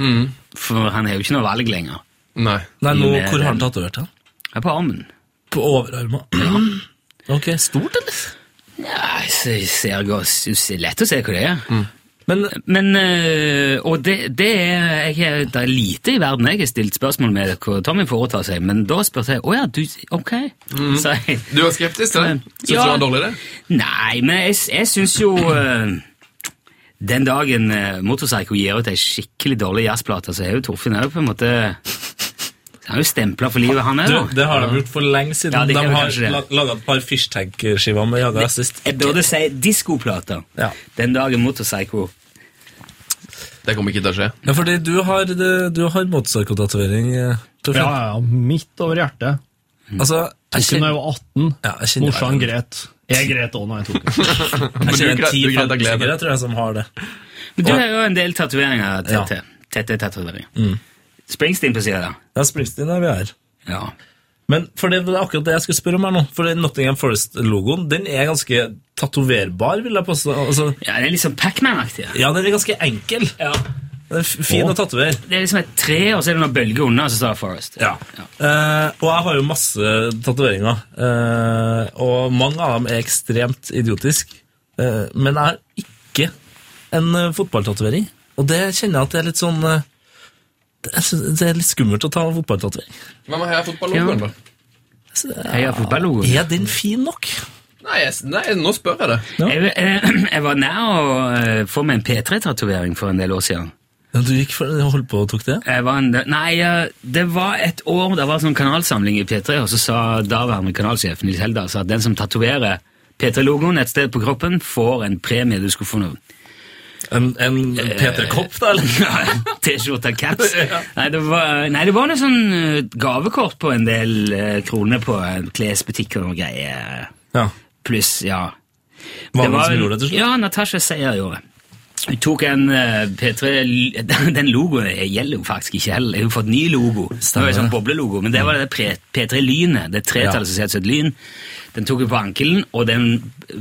For han har jo ikke noe valg lenger.
Nei.
Nei, nå,
Med
hvor har han
den.
tatovert han?
Jeg er på armen.
På overarmen. Ok, stort, eller?
Nei, så jeg ser godt, synes det er lett å se hva det er.
Men
Mm. Men, øh, og det, det, er, jeg, er- det er lite i verden jeg har stilt spørsmål med hva Tommy foretar seg, men da spurte jeg, åja, du, ok, sa jeg.
Du var skeptisk til det? Syns
Ja.
du det var en dårlig idé?
Nei, men jeg, jeg syns jo eh, Den dagen uh, Motorpsycho gir ut ei skikkelig dårlig jazzplate, så er jo Torfinn òg på en måte Han er jo stempla for livet, han
du,
òg.
det har de gjort for lenge siden.
Ja, det
de
kan vi
har
kanskje det.
la- laget et par fishtank-skiver med Jaga sist.
Jeg burde si diskoplater.
Ja.
Den dagen Motorpsycho
Det kommer ikke til å skje.
Ja, fordi du har, det- du har motorpsykotatovering, eh, Torfinn.
Ja, ja, ja, midt over hjertet.
Altså, jeg
Ikke
kjenner,
når jeg var 18.
ja, jeg kjenner,
Morsan
jeg
gret. Jeg gret òg når jeg tok den.
Men du,
kjenner
gre- du greide å
10-15
glede
stykker,
deg.
jeg tror jeg, som har det.
Men du har jo en del tatoveringer, Tette.
Ja. Mm.
Tette tatovering. Springsteen på sida, da.
Ja, Springsteen er vi her.
Ja.
Men for det, det er akkurat det jeg skulle spørre om her nå. For det Nottingham Forest-logoen den er ganske tatoverbar, vil jeg påstå. Altså,
ja, det er litt sånn Pacman-aktig.
ja, den er ganske enkel.
Ja.
Den er f- fin å tatovere.
Det er liksom et tre, og så er det noen bølger unna, så står det Forest.
Eh, og jeg har jo masse tatoveringer, eh, og mange av dem er ekstremt idiotiske. Eh, men jeg har ikke en uh, fotballtatovering, og det kjenner jeg at det er litt sånn eh, det er, det er litt skummelt å ta en fotballtatovering.
Hvem har heia fotballogoen,
Ja.
da?
Jeg har fotballogoen.
Er den fin nok?
Nei, jeg, nei, nå spør jeg det.
eh, Jeg, jeg, jeg var nær å eh, få meg en P3-tatovering for en del år siden.
Ja, Du gikk for, holdt på og tok det?
Jeg var en, nei, eh, det var et år det var sånn kanalsamling i P3, og så sa daværende kanalsjef Nils Heldal sa at den som tatoverer P3-logoen et sted på kroppen, får en premie du skulle få noe.
En, en P3-kopp, da? eller?
T-skjorte av Cats. Nei, det var, nei, det var noe sånn eh, gavekort på en del eh, kroner på en klesbutikk og noe greier.
Ja.
Pluss, ja.
Var det
var
noen som
vel-
gjorde det til slutt?
Ja, Natasha Seyer gjorde det. Hun tok en eh, P3 l- Den den logoen gjelder jo faktisk ikke heller. Hun har fått ny logo. Det var jo sånn boblelogo, Men det var det pre- P3-lynet. Det tretallet som heter lyn. Den tok hun på ankelen, og den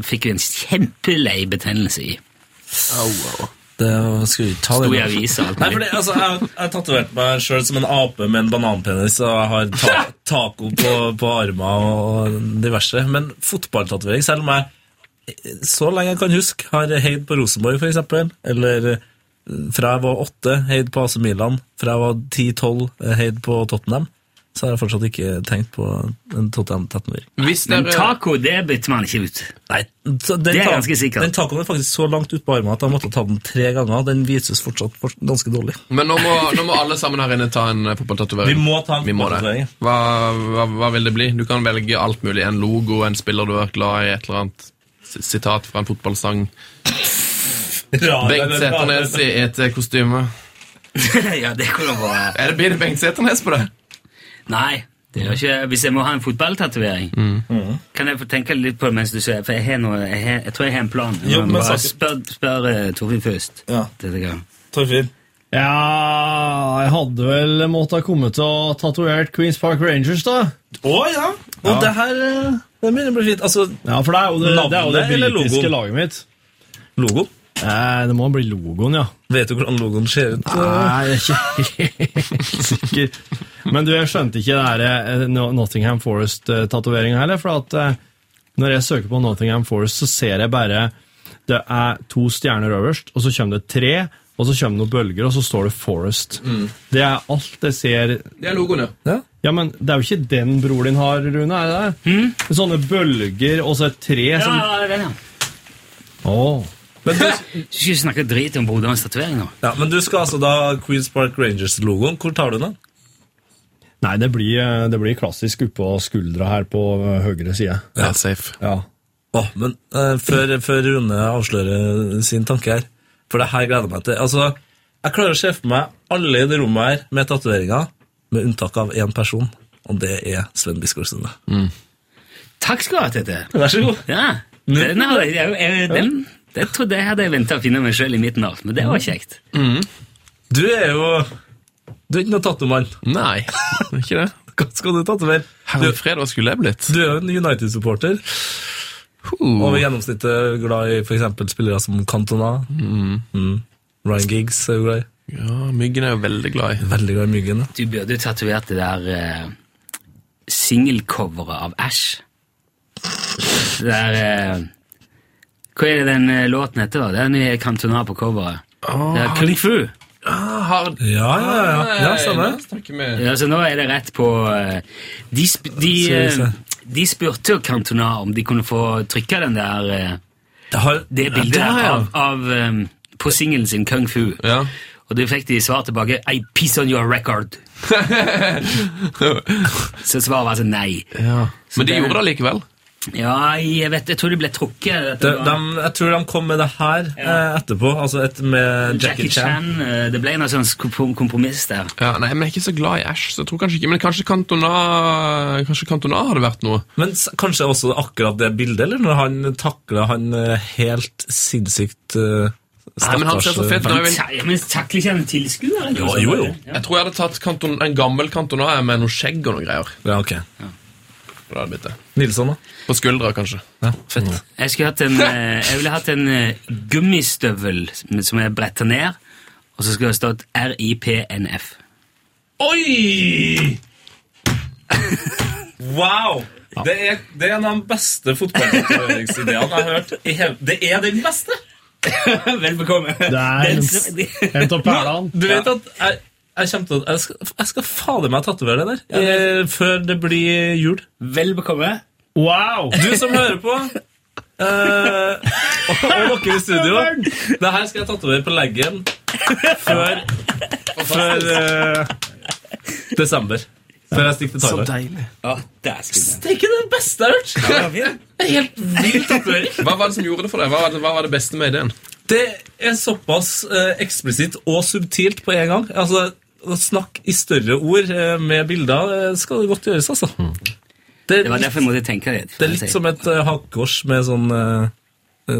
fikk hun en kjempelei betennelse i.
Det skal vi ta
Sto
det
i
nå.
aviser og alt
Nei, for
mulig.
det, altså, Jeg har- jeg har tatovert meg sjøl som en ape med en bananpenis og jeg har ta taco på, på armer og diverse. Men fotballtatovering, selv om jeg så lenge jeg kan huske, har heid på Rosenborg, for eksempel, Eller eh, fra jeg var åtte, heid på AC Milan. Fra jeg var ti-tolv, heid på Tottenham. Så har jeg fortsatt ikke tenkt på en Tottenham-tatovering.
Hvis
Men
dere,
taco, det bytter man ikke ut.
eh, Nei, så den,
Det er
ta-
ganske sikkert.
Den tacoen er faktisk så langt ut på armen at jeg måtte ta den tre ganger. Den vises fortsatt for- ganske dårlig.
men nå må, nå må alle sammen her inne ta en eh, fotballtatovering.
Vi må ta en
Vi må det.
fotballtatovering.
Hva, hva, hva vil det bli? Du kan velge alt mulig. En logo, en spiller du har vært glad i, et eller annet s- sitat fra en fotballsang. Bengt Seternes i E ET-kostyme.
ja, det kunne vært
Er det blir det Bengt Seternes på det?
Nei. Det gjør ikke, hvis jeg må ha en fotballtatovering, kan jeg få tenke litt på det mens du sier For jeg, har noe, jeg, har, jeg tror jeg har en plan.
Jo,
Men
men
bare
saken-
spør spør eh, Torfinn først.
Ja.
Dette gang.
Torfinn.
Ja, jeg hadde vel måttet komme til å ha tatovert Queens Park Rangers, da.
Å ja! Og det her eh, Det begynner å bli fint. Altså,
Ja, for det er jo det, det, er jo det
Navnet eller
britiske
logoen?
laget mitt.
logo.
Eh, det må bli logoen, ja.
Vet du hvordan logoen ser ut?
Nei, jeg er ikke helt sikker. Men du, jeg skjønte ikke det her, eh, No- Nottingham Forest-tatoveringa heller. For at eh, når jeg søker på Nottingham Forest, så ser jeg bare det er to stjerner øverst, og så kommer det tre, og så kommer det noen bølger, og så står det Forest. Det er alt jeg ser
Det er logoen, ja.
Ja, men det er jo ikke den bror din har, Rune, er det det? Med Sånne bølger, og så et tre
Ja,
som
ja, den, ja.
Åh.
Du skal ikke snakke drit om broderens tatovering nå.
Ja, men du skal altså da ha Queens Park Rangers-logoen. Hvor tar du den?
Nei, det blir, eh, det blir klassisk oppå skuldra her på eh, høyre side.
Helt safe.
Ja.
Åh, men eh, før, før Rune avslører sin tanke her For det her gleder jeg meg til. Altså, Jeg klarer å se for meg alle i det rommet her med tatoveringer, med unntak av én person, og det er Sven Biskår Sunde.
Takk skal du ha, Tete.
Vær så god.
Ja, den, hadde, jeg, jeg, jeg- den, den trodde jeg hadde jeg venta å finne meg sjøl i midten av, men det var kjekt.
Du er jo Du er ikke noen tattomann.
Nei, det er ikke det.
Hva skal du tatovere?
Herre fred, hva skulle jeg blitt?
Du er jo en United-supporter,
Uh.
over gjennomsnittet glad i for eksempel spillere som Cantona. Mm. Ryan Giggs er jo glad i.
Ja, myggen er jeg veldig glad i.
Veldig glad i Myggen. da.
Du burde jo tatovert det der eh, singelcoveret av Ash. Det der eh, Hva er det den eh, låten heter? da? Det er nye Cantona på coveret. Det er Kung Fu.
Ah, har...
Ja, ja, Ah, ja. ja
sånn,
stemmer.
stemmer.
Ja, så nå er det rett på eh, De, sp de,
Seriøse.
eh, de spurte jo Cantona om de kunne få trykka den der eh,
Det, har,
det
Ja,
bildet
det har jeg.
av, av eh, på singelen sin Kung Fu.
Ja.
Og det fikk de svar tilbake I piece on your record. Så svaret var altså nei.
ja. Men de
det-
gjorde det likevel.
Ja, jeg vet, jeg tror det ble trukket. at
De,
det var-
de, jeg tror de kom med det her eh, etterpå, altså et med Jackie,
Jackie
Chan.
Chan. eh, Det ble noe sånn skom- kompromiss der.
Ja, nei, men jeg er ikke så glad i Ash, så jeg tror kanskje ikke Men kanskje Cantona, kanskje Cantona hadde vært noe?
Men s- kanskje også akkurat det bildet, eller når han takla han eh, helt sinnssykt eh,
Nei, men han ser så
stakkars,
fett
eh,
ut. Jeg, vil-
Ta- ja, Men takler ikke han tilskuere?
Ja, jo, jo.
jeg tror jeg hadde tatt kanton, en gammel Cantona med noe skjegg og noe greier.
Ja, ok.
Det hadde blitt det.
Nilsson, da?
På skuldra, kanskje.
Ja, fett.
Jeg, skulle hatt en, eh, jeg ville hatt en eh, gummistøvel som- som jeg bretter ned, og så skulle det stått RIPNF.
Oi! Wow! Det, er, det er en av de beste fotballtreningsideene jeg har hørt. i hele- Det er den beste!
Vel bekomme.
Det er en av perlene.
Du vet at jeg, jeg, kommer til, å- jeg skal, jeg skal fader meg tatovere det der eh, før det blir jul.
Vel bekomme.
Wow!
Du som hører på eh, og dere i studio. Det her skal jeg tatovere på leggen før, før eh, desember. Før jeg stikker til Thailand.
deilig.
Det er ikke det beste jeg har hørt! Det er helt vill tatovering.
Hva var det som gjorde det for deg? Hva var det, hva var det beste med ideen?
Det er såpass eh, eksplisitt og subtilt på en gang. Altså, å snakke i større ord eh, med bilder eh, skal det godt gjøres, altså. Det,
Mm. Det var derfor jeg måtte tenke litt.
det er litt som et uh, hakkekors med sånn eh,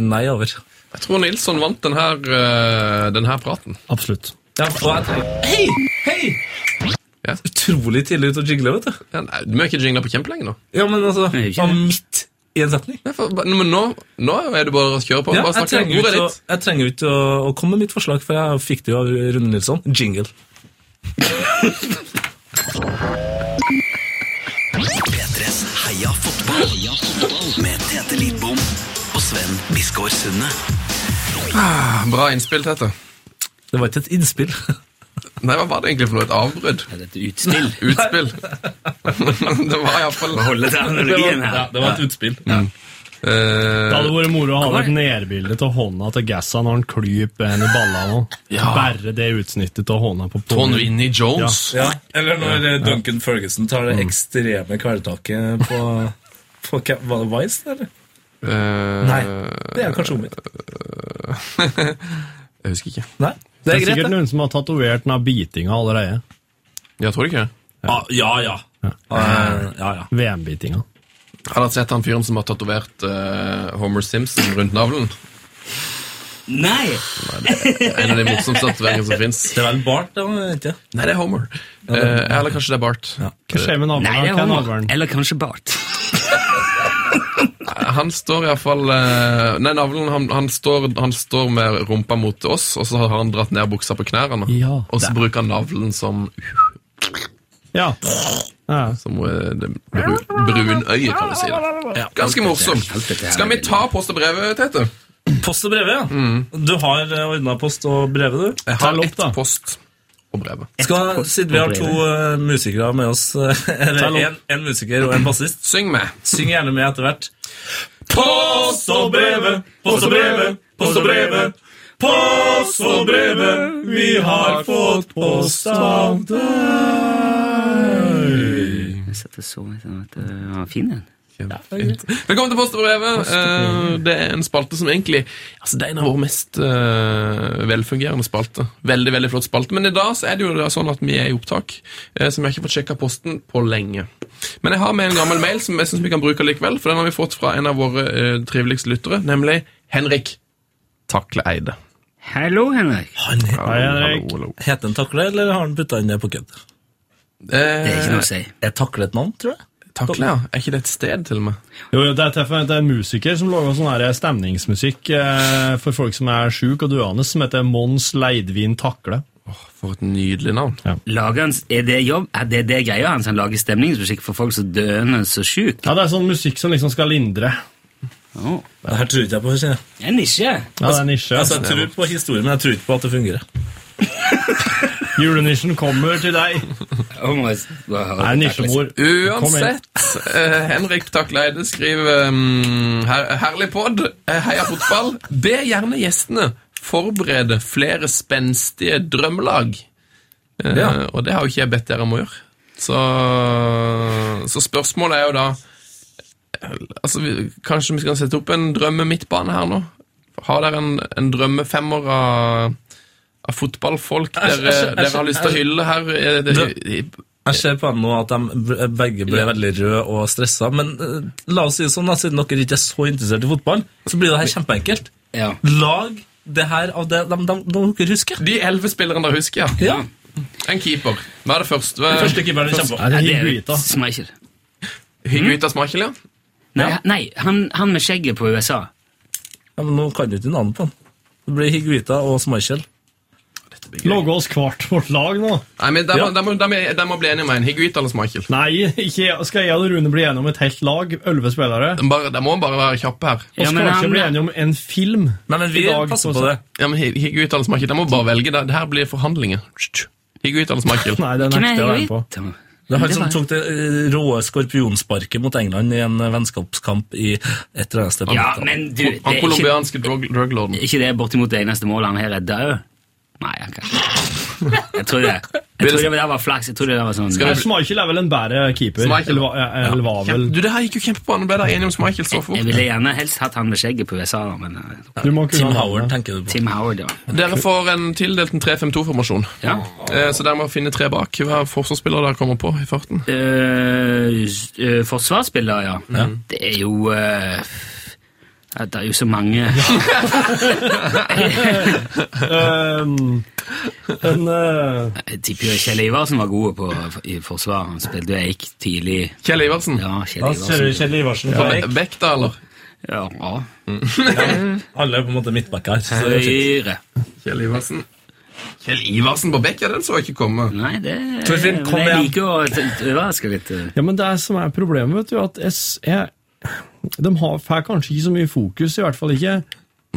nei over.
Jeg tror Nilsson vant den her, eh, den her praten.
Absolutt.
Ja, og jeg tenker, hei, hei!
Ja.
Utrolig tidlig ute å jingle, vet du.
Ja, nei, vi har ikke jingla på kjempelenge nå.
Ja, men altså,
Nei, ikke
var
det.
midt i en setning.
Nei, for, men nå, nå er det bare å kjøre på.
Ja,
bare
jeg
snakke.
trenger jo
Ordet er
ikke,
ditt.
å- jeg trenger jo ikke å, å komme med mitt forslag, for jeg fikk det jo av Rune Nilsson. Jingle.
P3s Heia fotball. Heia fotball. Med Tete Lidbom og Sven Biskår Sunde.
Bra innspill, Tete.
Det var ikke et innspill.
Nei, hva var det egentlig for noe? Et avbrudd?
Et utspill.
Utspill? det var iallfall
Holde terminologien her.
det var et utspill.
Det
uh,
hadde vært moro å ha et nærbilde av hånda til Gassa når han klyper en i ballene.
Ja.
Bare det utsnittet av hånda på
Tony Winnie Jones.
Ja, Mm. eller når eh, Duncan Ferguson tar det ekstreme kvelertaket på, på Ca- var det Vice, eller?
Eh,
Nei, det er kanskje omvendt.
Jeg husker ikke.
Nei,
Det
det
er
er greit,
sikkert
det.
noen som har tatovert den av bitinga allerede.
Ja, tror du ikke det?
Ah, ja, ja. Eh, ja, ja.
VM-bitinga.
Har dere sett han fyren som har tatovert eh, Homer Simpson rundt navlen?
Nei!
En av de morsomste tatoveringene som fins.
Det er vel Bart, da, vet jeg.
Nei, det er Homer. Eh, eller kanskje det er Bart.
Hva skjer med
Nei, det
navlen?
er
Hva er
Homer.
navlen?
Eller kanskje Bart.
Han står iallfall uh, Nei, navlen han, han, står, han står med rumpa mot oss, og så har han dratt ned buksa på knærne.
Ja.
og så bruker han navlen som,
Ja. ja.
som eh, det bru, brunøye, kan du si. det. Ganske morsomt. Skal vi ta post og brevet, Tete?
Post og brevet, ja. Du har ordna post og brevet, du?
Jeg
Ta
har
lopp,
ett
da.
post og brevet.
Skal, siden vi har to eh, musikere med oss, eh, eller en, en musiker og en bassist,
Syng med.
syng gjerne med etter hvert. Post og brevet, post og brevet, post og brevet. Post og brevet, vi har fått post av
Jeg satt og så meg sånn at det var fin den.
Fint. Velkommen til Post og brevet. Eh, det er en spalte som egentlig altså Det er en av våre mest eh, velfungerende spalter. Veldig veldig flott spalte. Men i dag så er det jo da sånn at vi er i opptak, eh, så vi har ikke fått sjekka posten på lenge. Men jeg har med en gammel mail som jeg syns vi kan bruke likevel, for den har vi fått fra en av våre eh, triveligste lyttere, nemlig Henrik Takle Eide.
Hallo, Henrik.
Hei, Henrik.
hallo.
Heter den takle, eller har den putta inn det på kødd?
Det er
Eh,
ikke noe å si.
Er takle et navn, tror jeg?
takle, ja. Er ikke det et sted, til og med?
Jo, jo, det er tøft, men det er en musiker som lager sånn her stemningsmusikk eh, for folk som er syke og døende, som heter Mons Leidvin Takle.
For et nydelig navn.
Lager han, er det jobb? Er det, det greia hans? Han lager stemningsmusikk for folk som er døende og sjuke?
Ja, det er sånn musikk som liksom skal lindre.
Oh.
Det her tror ikke jeg på. Ikke? jeg.
En nisje.
Ja, det er nisje.
Altså, jeg tror på historien, men jeg tror ikke på at det fungerer.
Julenissen kommer til deg.
Oh
Det er nisjemor. Kom igjen.
Uansett, eh, Henrik Takleide skriver um, her, Herlig pod, eh, heia fotball. Be gjerne gjestene forberede flere spenstige drømmelag. Eh,
Ja.
Og det har jo ikke jeg bedt dere om å gjøre. Så, så spørsmålet er jo da eh, altså, vi, Kanskje vi skal sette opp en drømme midtbane her nå? Har dere en, en drømmefemmer av, av fotballfolk
Æsj,
dere,
æsj,
dere har lyst til å
æsj.
hylle her? Eh, Det, i,
Jeg ser på dem nå at de b- begge ble veldig røde og stressa, men eh, la oss si det sånn, da, siden dere ikke er så interessert i fotball, så blir det her kjempeenkelt.
Ja.
Lag det her av det de, de, de dere husker.
de elleve spillerne dere husker, ja.
Ja.
En keeper. Hva er det første?
Første keeperen vi kommer på.
Er det
Ja, det
Higuita?
er Schmeichel.
Higuita Smakel, ja.
Nei, nei han, han med skjegget på USA.
Ja, men nå kan du ikke navnet på han. Det blir Higuita og Smichel.
Logge oss hvert vårt lag nå.
Nei, men der,
Ja.
må- der, må, der, må, der må bli enige med en. Higuita eller Smakel.
Nei, ikke, skal jeg og Rune bli enige om et helt lag? Elleve spillere?
De, bare, de må bare være kjappe her.
Og
Ja,
skal
men
vi ikke
han-
bli enige om en film?
Nei, men vi
I dag
passer
på
på det.
Ja, men Hi- Higuita eller Smakel, de må bare velge. Det, det her blir forhandlinger. Higuita eller Smakel.
Nei, det
Hvem
nekter
er
jeg å være med på.
Higuita?
Det er han
Det
som
var-
tok det eh, råe skorpionsparket mot England i en eh, vennskapskamp i et eller annet sted. på
Ja,
natta.
men du, det er
Han
ikke,
colombianske drug druglorden.
ikke det bortimot det eneste målet han har redda òg? Nei, han kan ikke Jeg tror det. Jeg tror det der var flaks. Jeg tror det der var sånn
Skal
Nei,
det-
Schmeichel er vel en bedre keeper.
Schmeichel.
Eller, var- eller var vel
Du, det her gikk jo kjempebra. Nå ble dere enige om Michael så
Jeg
fort.
ville gjerne helst hatt han med skjegget på USA, da, men eh,
Du må kunne
Tim
navnet.
Howard tenker du på.
Tim Howard, ja.
Dere får en tildelt en 3-5-2-formasjon.
ja.
Eh, Så dere må finne tre bak. Hva forsvarsspiller dere kommer på i farten?
Eh, s- eh, forsvarsspiller, ja. Det er jo eh, ja, Det er jo så mange
Ehm, en, eh,
Jeg tipper jo Kjell Iversen var god på i forsvar. Han spilte jo Eik tidlig.
Kjell Iversen?
Ja, Kjell
Da kjører
Iversen.
Kjell Iversen
Fra
på
Be-
bekk.
Bekta, eller?
Ja, ja.
Alle er på en måte midtback her. Så det er fint.
Høyre.
Kjell Iversen. Kjell Iversen på Bekka, den så jeg ikke komme.
Nei, det
Torfinn, kom
men Jeg
igjen.
liker å t- t- overraske litt. eh.
ja, men det er som er problemet, vet du, at S jeg, de har, får kanskje ikke så mye fokus, i hvert fall ikke.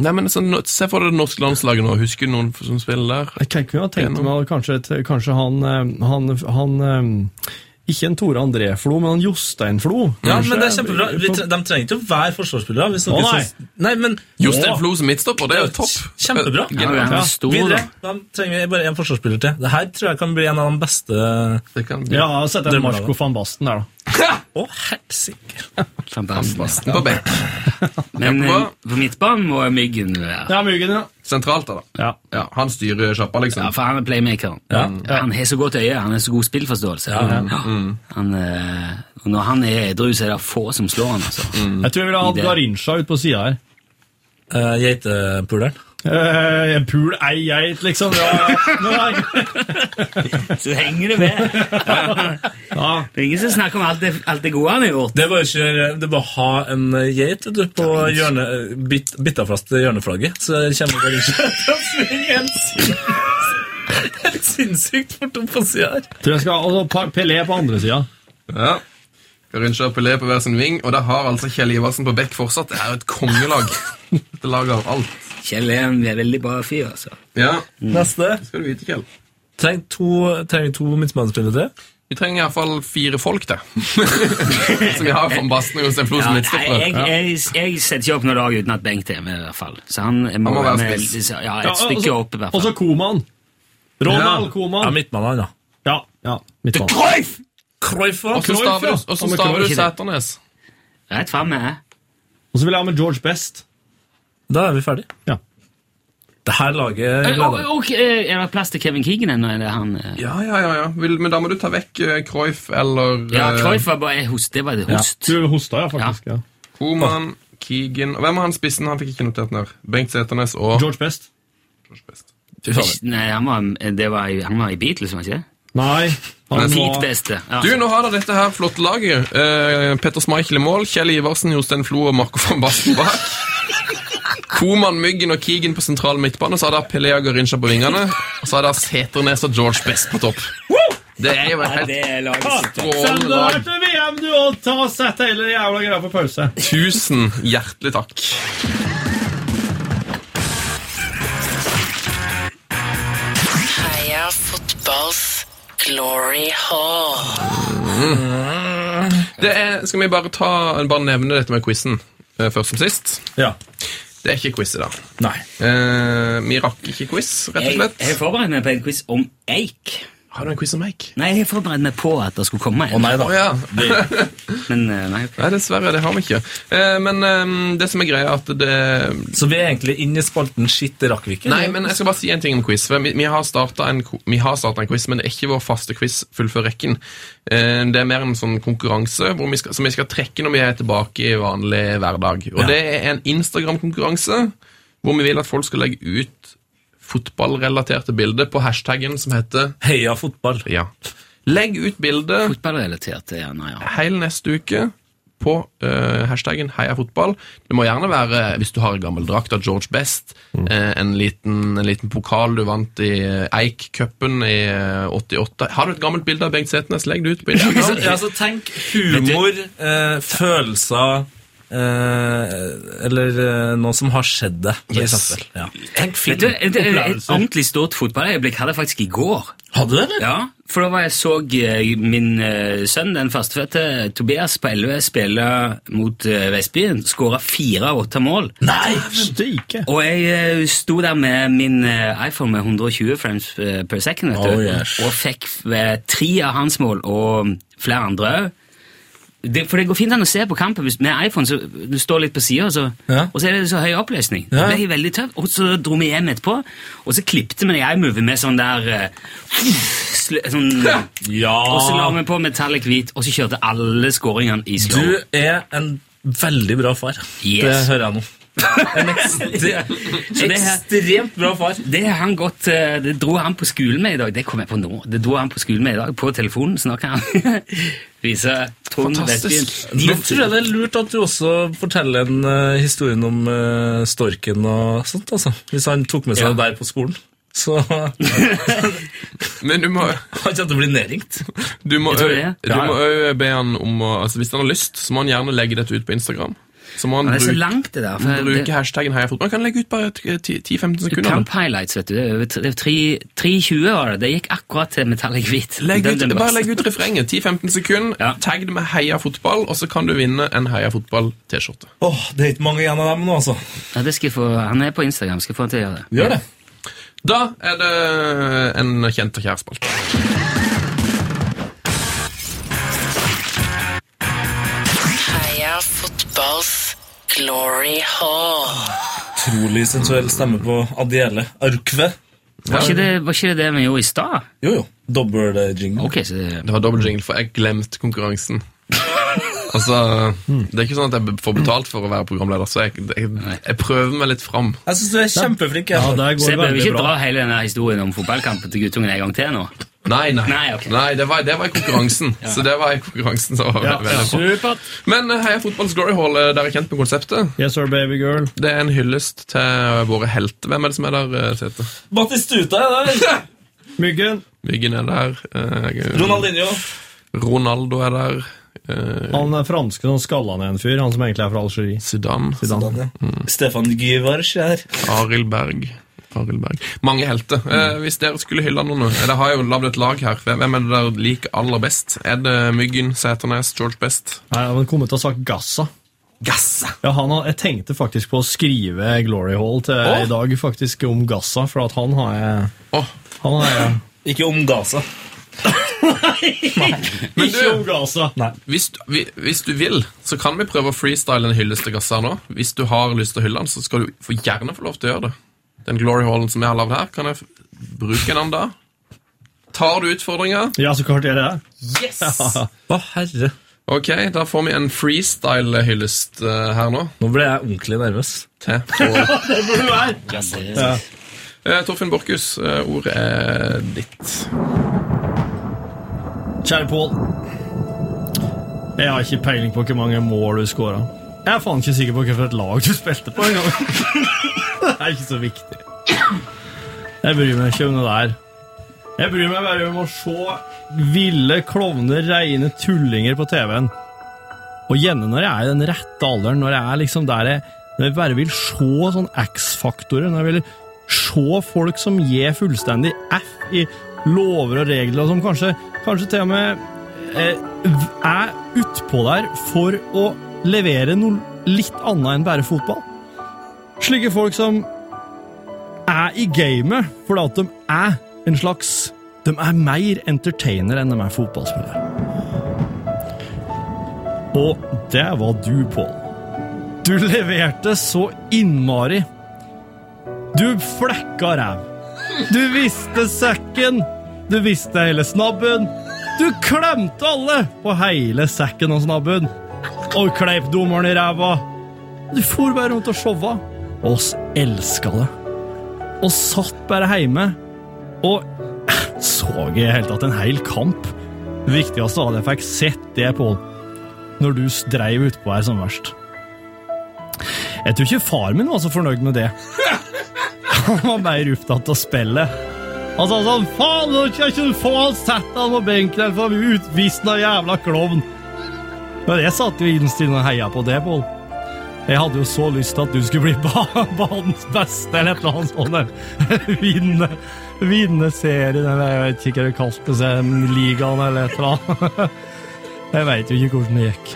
Nei, men så, nå- Se for deg det norske landslaget nå. Husker du noen som spiller der?
Jeg kan ikke ha tenkt meg at kanskje, et- kanskje han, eh, han, han eh, Ikke en Tore André Flo, men han Jostein Flo.
Ja,
kanskje.
men det er kjempebra. Vi tre, de trenger ikke å være forsvarsspillere. Hvis noen
Å, nei.
syns- nei, men
Jostein
Å,
Flo som midtstopper, det er jo topp.
Kjempebra.
Ja, men han
Ja.
er stor, da.
Videre. Da trenger vi bare en forsvarsspiller til. Det her tror jeg kan bli en av de beste Å,
Det kan bli.
Ja, sett en
Drømmer
Marco
det.
van Basten der, da.
helsike!
Fantastisk.
På bekk.
Men eh,
Jakob?
på midtbanen må Myggen være.
Ja, Muggen, ja.
Sentralt, da. da.
ja.
Ja, han styrer sjappa,
Ja,
liksom.
for han er playmakeren. Han har så godt øye, han har så god spillforståelse. Ja. Han, eh, og når han er edru, så er det få som slår han, altså.
Jeg tror jeg ville hatt
Idé.
Garincha ut på sida her.
Eh, Geitepuleren.
Eh, en pul ei geit, liksom. Ja, ja. Nei.
Så henger det med.
Ja.
Det er ingen som snakker om alt det, alt det gode han har gjort.
Det var jo ikke Det var å ha en eh, geit vet du, på hjørne, eh, bit, bitta fast til hjørneflagget, så kommer det ikke til å svinge helt sin- helt sinnssykt fort opp på sida her.
Tror jeg skal ha altså, Pa- Pelé på andre sida.
Ja. Garincha og Pelé på hver sin ving, og der har altså Kjell Iversen på bekk fortsatt. Det er jo et kongelag. Dette laget har alt.
Kjell er en veldig bra fyr, altså.
Ja,
Neste.
skal du vite, Kjell.
Trenger to, trenger vi to midtbanespillere til?
Vi trenger iallfall fire folk, da. Som vi har fra Basten og Jostein Flo som
Ja, nei, jeg,
midtstoppere.
jeg, jeg setter ikke opp noe lag uten at Bengt er med, i hvert fall. Så han, jeg må,
Han må være
med-
spiss.
Ja,
Ja,
et stykke
og så-
opp, i hvert
Og
fall.
så Koman. Ronald
Ja.
Ja,
Koman.
midtmannen, da.
Ja. ja. Mitt mann.
Cruyff! Cruyff, ja.
Og så staver du, og så
Om
staver
Cruyff,
du
ikke det.
Sæternes.
Rett frem med jeg.
Og så vil jeg ha med George Best.
Da er vi ferdige.
Ja.
Det her laget
Og,
gleder jeg meg.
og, eh, er det plass til Kevin Keegan ennå? Er det han eh?
Ja, ja, ja. ja. Vil, men da må du ta vekk eh, Cruyff eller
Ja,
eh,
Cruyff var bare host. Det var det host.
Du hosta, ja, faktisk. Ja.
Koeman, Keegan Hvem er han spissen? Han fikk ikke notert ned. Bengt Sæternes og
George Best.
George Best.
Nei, han var, eh, det var, i- han var i Beatles, var han ikke det?
Nei. Han
Sitt
var,
beste. Ja.
Du, nå har dere dette her flotte laget. Eh, Petter Schmeichel i mål, Kjell Iversen, Jostein Flo og Marco van Basten bak. Koman, Myggen og Keegan på sentral midtbane. Så har dere Pelea Garincha på vingene. Og så har dere Seternes og George Best på topp. Det er jo et
Ja,
helt
det er laget sitt.
strålende
Send det her
lag.
til VM, du, og ta og sett hele jævla greia på pause.
Tusen hjertelig takk.
Heia fotballs glory hall.
Mm. Det er, skal vi bare, ta, bare nevne dette med quizen eh, først som sist?
Ja.
Det er ikke quiz i dag.
Nei.
Eh, vi rakk ikke quiz, rett og
Jeg
slett.
jeg har forberedt meg på en quiz om eik.
Har du en quiz om Eik?
Nei, jeg har forberedt meg på at det skulle komme
Å
en.
nei da.
Å ja.
Men eh, nei,
Nei, dessverre, det har vi ikke. Eh, men eh, det som er greia, er at det
Så vi er egentlig inne i spalten Shit, det rakk vi ikke.
Nei, men jeg skal bare si en ting om quiz. for Vi, vi har starta en, ko- vi har startet en quiz, men det er ikke vår faste quiz fullfør rekken. Eh, Det er mer en sånn konkurranse hvor vi skal, som vi skal trekke når vi er tilbake i vanlig hverdag. Og det er en Instagram-konkurranse hvor vi vil at folk skal legge ut fotballrelaterte bilder på hashtaggen som heter
Heia fotball.
Ja. Legg ut bilde
fotballrelatert er han, ja.
hele neste uke på eh, hashtaggen heia fotball. Det må gjerne være, hvis du har en gammel drakt av George Best, eh, en, liten, en liten pokal du vant i eh, Eik-cupen i eh, 88. Har du et gammelt bilde av Bengt Setnes, legg det ut på
Ja,
Instagram.
altså, tenk humor, eh, følelser eh, Eller eh, noe som har skjedd det, for
Yes.
eksempel. Ja. Tenk
Vet du, et, et, et ordentlig stort fotballøyeblikk hadde jeg faktisk i går.
Hadde du det, eller?
Ja, For da var jeg så eh, min eh, sønn, den førstefødte Tobias på 11, spille mot eh, Vestbyen. Skåra fire av åtte mål.
Nei! Steike!
Og jeg eh, sto der med min eh, iPhone med 120 frames eh, per second, vet du.
Oh, yes.
Og fikk eh, tre av hans mål, og flere andre òg. Det, for det går fint an å se på kampen hvis, med iPhone. så Du står litt på sida, så,
Ja.
og så er det så høy oppløsning.
Ja.
Det ble veldig tøft. Og så dro vi hjem etterpå, og så klipte vi iMovie med sånn der eh, sl- sånn, Og så la
Ja!
vi på metallic hvit, og så kjørte alle skåringene i slow.
Ah. Du er en veldig bra far. Det
Yes.
hører jeg nå. En
Så
ekstre-
det her-
ekstremt bra far.
Det, har han godt, eh, det dro han på skolen med i dag. Det kom jeg på nå. Det dro han på skolen med i dag. På telefonen snakker han. Viser Trond Vestbyen.
Fantastisk.
De-
Nå tror jeg det er lurt at du også forteller en eh, historien om eh, storken og sånt, altså. Hvis han tok med seg det der på skolen. Så han
Men du må
kommer til å bli nedringt.
Du må
tror det er.
òg be han om å altså Hvis han har lyst, så må han gjerne legge dette ut på Instagram. Så må han
Det er så
bruke,
langt, det der. for
bruke
det-
hashtaggen heiafotball. Han kan legge ut bare t- 10-15 sekunder.
Kamp highlights, vet du. Det er over tre- det er tre- 3.20 var det. Det gikk akkurat til metallic hvit.
Legg ut,
Den- den
bare
beste.
legg ut refrenget. 10-15 sekunder.
Ja.
Tagg det med Heia fotball, og så kan du vinne en Heia fotball-T-skjorte.
Åh, Det er ikke mange igjen av dem nå, altså.
Ja, det skal jeg få, han er på Instagram. Skal jeg få han til å gjøre det.
Gjør det.
Da er det en kjent og kjær spalte.
Heia fotballs glory hall.
Utrolig sensuell stemme på Adiele Arkve.
Var ikke det var ikke det, det vi gjorde i stad?
Jo, jo. Dobbel eh, jingle.
Ok, så det,
Det var dobbel jingle, for jeg glemte konkurransen. altså,
Hmm.
Det er ikke sånn at jeg får betalt for å være programleder, så jeg, jeg, jeg prøver meg litt fram.
Jeg syns du er kjempeflink. jeg.
Ja, der
så jeg
går det
behøver
veldig
ikke
bra.
dra hele denne historien om fotballkampen til guttungen en gang til nå.
Nei, nei.
Nei, ok.
det, var, det var i konkurransen. Så det var i konkurransen som var
Ja,
veldig bra.
Supert!
Men eh, Heia Fotballs Glory Hall, eh, dere er kjent med konseptet.
Yes sir, baby girl.
Det er en hyllest til våre helter. Hvem er det som er der, eh, Tete?
Batistuta er der.
Myggen.
Myggen er der. eh,
Ronaldinho.
Ronaldo er der. eh,
Han er franske som skalla ned en fyr, han som egentlig er fra Algerie.
Zidane.
Zidane.
Stefan Gyvars er her.
Arild Berg. Arild Berg. Mange helter. Eh, hvis dere skulle hylle noen nå Dere har jo lagd et lag her. Hvem hvem er det dere liker aller best? Er det Myggen, Sæternes, George Best?
Nei, Han kommer til å ha sagt Gassa.
Gasse!
Ja, han har, Jeg tenkte faktisk på å skrive Glory Hall til i dag faktisk om Gaza, for at han har jeg
Åh,
han har jeg.
Ikke om Gaza.
Men
Ikke om
du,
Gaza! Nei.
hvis, du- vi- hvis du vil, så kan vi prøve å freestyle en hyllest til Gasse her nå. Hvis du har lyst til å hylle den, så skal du få gjerne få lov til å gjøre det. Den glory hallen som jeg har lagd her, kan jeg f- bruke en annen da? Tar du utfordringa?
Ja, så klart gjør jeg det.
Å, herre.
Ok, da får vi en freestyle-hyllest eh, her nå.
Nå ble jeg ordentlig nervøs.
Til på Eh, Torfinn Borchhus, eh, ordet er ditt.
Kjære Pål. Jeg har ikke peiling på hvor mange mål du skåra. Jeg er faen ikke sikker på hvilket lag du spilte på engang. det er ikke så viktig. Jeg bryr meg ikke om det der. Jeg bryr meg bare om å se ville klovner, reine tullinger på TV-en. Og gjerne når jeg er i den rette alderen, når jeg er liksom der jeg, når jeg bare vil se sånn X-faktorer, når jeg vil se folk som gir fullstendig F i lover og regler, og som kanskje, kanskje til og med eh, er utpå der for å levere noe litt annet enn bare fotball. Slike folk som er i gamet fordi at de er en slags De er mer entertainer enn de er fotballspillere. Og det var du, Pål. Du leverte så innmari. Du flekka ræv. Du visste sekken. Du visste hele snabben. Du klemte alle på hele sekken og snabben. Og kleip dommeren i ræva. Du for bare rundt og showa. Og oss elska det. Og satt bare heime. Og så i hele tatt en hel kamp. Det viktigste var at jeg fikk sett det, Pål når du dreiv utpå her som verst. Jeg tror ikke far min var så fornøyd med det. Han var mer opptatt av spillet. Han sa sånn Faen, nå kan ikke du få han sett han på benken eller få han utvist den jævla klovn. Men jeg satt jo innstilt og heia på det, Pål. Jeg hadde jo så lyst til at du skulle bli ba- banens beste, eller et eller annet sånt. der. Vinne, vinne serien, eller jeg vet ikke hva det kalte seg, ligaen, eller et eller annet. Jeg veit jo ikke hvordan det gikk.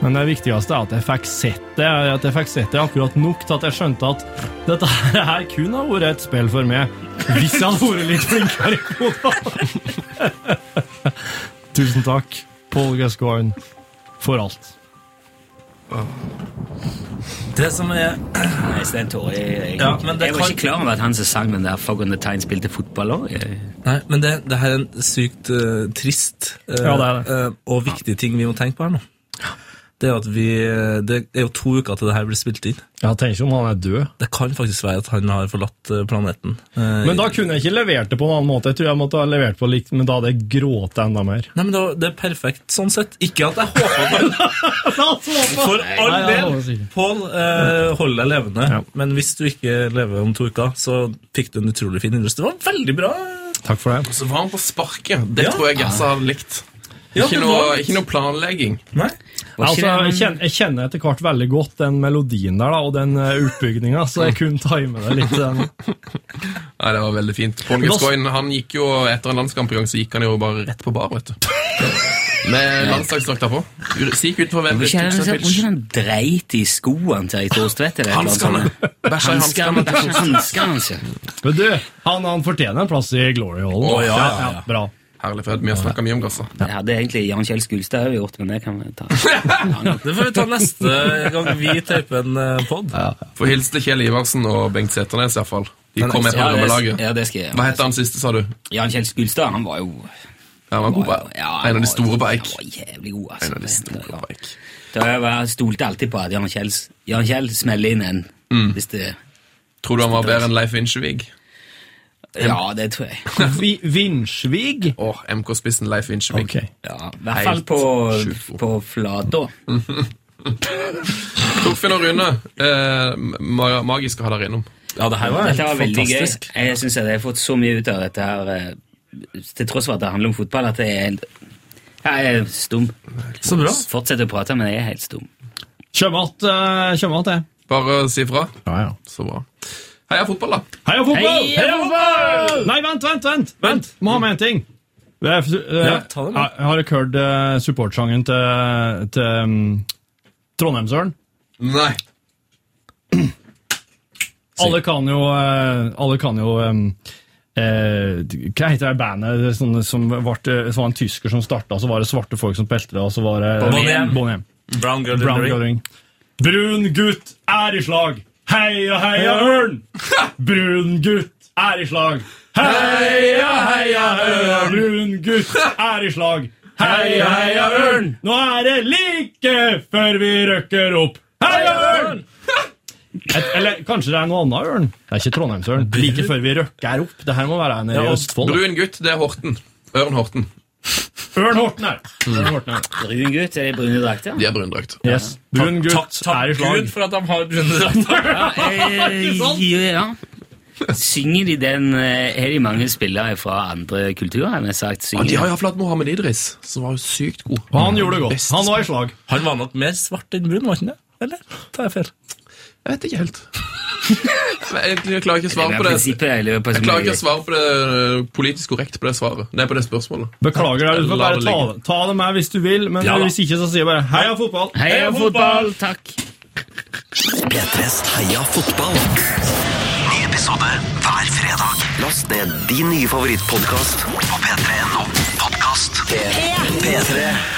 Men det viktigste er at jeg fikk sett det, at jeg fikk sett det akkurat nok til at jeg skjønte at dette her kun har vært et spill for meg, hvis jeg hadde vært litt flinkere i koden. Tusen takk, Paul Gascoigne, for alt.
Det som er
Nei, Stein Tore, jeg,
Ja, men det
jeg var
kan-
ikke klar over at han som sang den der Fog on the Tine spilte fotball òg.
Nei, men det, det her er en sykt eh, trist eh,
Ja, det
eh, og viktig ting vi må tenke på her nå. Det er, at vi, eh, det er jo to uker til det her blir spilt inn.
Ja, tenk om han er død.
Det kan faktisk være at han har forlatt eh, planeten. Eh,
Men da kunne jeg ikke levert det på en annen måte. Jeg tror jeg måtte ha levert på likt, men da hadde jeg grått enda mer.
Nei, men det, det er perfekt sånn sett. Ikke at jeg håper på For all
Nei, jeg håper
del,
sikkert.
Pål, eh, hold deg levende.
Ja.
Men hvis du ikke lever om to uker, så fikk du en utrolig fin innrøst. Det var veldig bra.
Takk for det.
Så var han på sparket. Det
Ja.
tror jeg Gasse hadde likt.
Ja,
Ikke
det
noe,
var-
ikke noe planlegging.
Nei?
Altså, jeg, kjenner, jeg kjenner etter hvert veldig godt den melodien der da, og den utbygninga, så jeg kunne time det litt. Den.
Nei, det var veldig fint. Paul Gascoigne han gikk jo etter en landskamp i gang, så gikk han jo bare rett på bar, vet du. Med landslagsdrakta på. Sik utenfor ved
Hvor ikke han- hvor ikke han dreit i skoene til Erik Thorstvedt? eller et eller
Hanskene!
annet sånt?
Bæsja i
Hanskene,
hanskene.
kanskje hanskene hans, ja.
Men du, han, han fortjener en plass i Glory Hall.
Å, ja, ja,
bra.
Herlig fred, vi har snakka mye om gasser.
Det hadde egentlig Jan Kjell Skulstad òg gjort, men det kan vi ta.
Det får vi ta neste gang vi teiper en eh, pod.
Få hilse til Kjell Iversen og Bengt Seternes, iallfall. De kom med på
Ja, det-
drømmelaget.
Ja, det skal jeg.
Hva het han siste, sa du?
Jan Kjell Skulstad, han var jo
Ja, Han var god på
Ja, han
En av de
var-
store på Eik.
Han var jævlig god, altså.
En av de store
Ja.
på Eik.
Da jeg var- stolte alltid på at Jan Kjell, Jan Kjell smeller inn en.
Mm.
Hvis det,
Tror du han var bedre enn Leif Inchevig?
ja, det tror jeg.
Vi, Vinsjvig?
Å, MK-spissen Leif Inchevig.
Ok.
Ja, I hvert
Helt
fall på,
sjukt god.
på flata.
Torfinn og Rune, eh, ma- magisk å ha dere innom.
Ja, det her var,
Dette var veldig gøy.
fantastisk.
Jeg syns jeg har fått så mye ut av dette her, eh, til tross for at det handler om fotball, at jeg er helt jeg er stum.
Så bra.
Fortsett å prate, men jeg er helt stum.
Kjem att, eh, kjem att, jeg.
Bare si fra.
Ja, ja.
Så bra. Heia fotball, da.
Heia fotball!
Heia
fotball! Nei, vent, vent, vent! Vent, Må ha med en ting. Det er, eh,
Ja, ta det med.
jeg- Jeg har ikke hørt eh, supportsangen til, til um, Trondheimsøren.
Nei.
Alle kan jo, eh, alle kan jo eh, eh, Hva heter det bandet det er sånne som var, som var en tysker som starta, så var det svarte folk som spilte det, og så var det
Bonham.
Bonham.
Brown girl in the
Brown
ring.
Gulling. Brun gutt er i slag. Heia, heia, ørn! Brun gutt er i slag. Heia, heia, ørn! Brun gutt er i slag. Heia, heia, ørn! Nå er det like før vi røkker opp. Heia, ørn! Et, eller kanskje det er noe annet ørn? Det er ikke Trondheimsørn. Like før vi røkker opp. Det her må være en i Østfold. da.
Brun gutt, det er Horten. Ørn Horten.
Ørn Horten her. Ørn Horten her.
Brun gutt, er det brune drakter?
De er brundrakt.
Yes. Brun gutt er i slag.
Gud for at de har brune drakter.
Ja. Synger de den eh, Er de mange spillere fra andre kulturer? Har jeg sagt,
Ja,
synger
de har iallfall hatt Mohammed Idris, som var jo sykt god.
Og han gjorde det godt. Han var i slag.
Han var nok mer svart enn brun, var han det? Eller? Tar jeg feil?
Jeg vet ikke helt. Jeg jeg klarer ikke å svare
Det er
på det.
prinsippet jeg lurer på
Jeg
som
klarer ikke
jeg-
å svare på det eh, politisk korrekt på det svaret. Nei, på det spørsmålet.
Beklager deg, du får
La
bare
det
ta,
ligge.
ta det med hvis du vil, men
Ja da.
hvis ikke så sier jeg bare heia fotball!
Heia fotball! Takk.
P3s Heia fotball. Ny episode hver fredag. Last ned din nye favorittpodkast på p3.no. Podkast P3.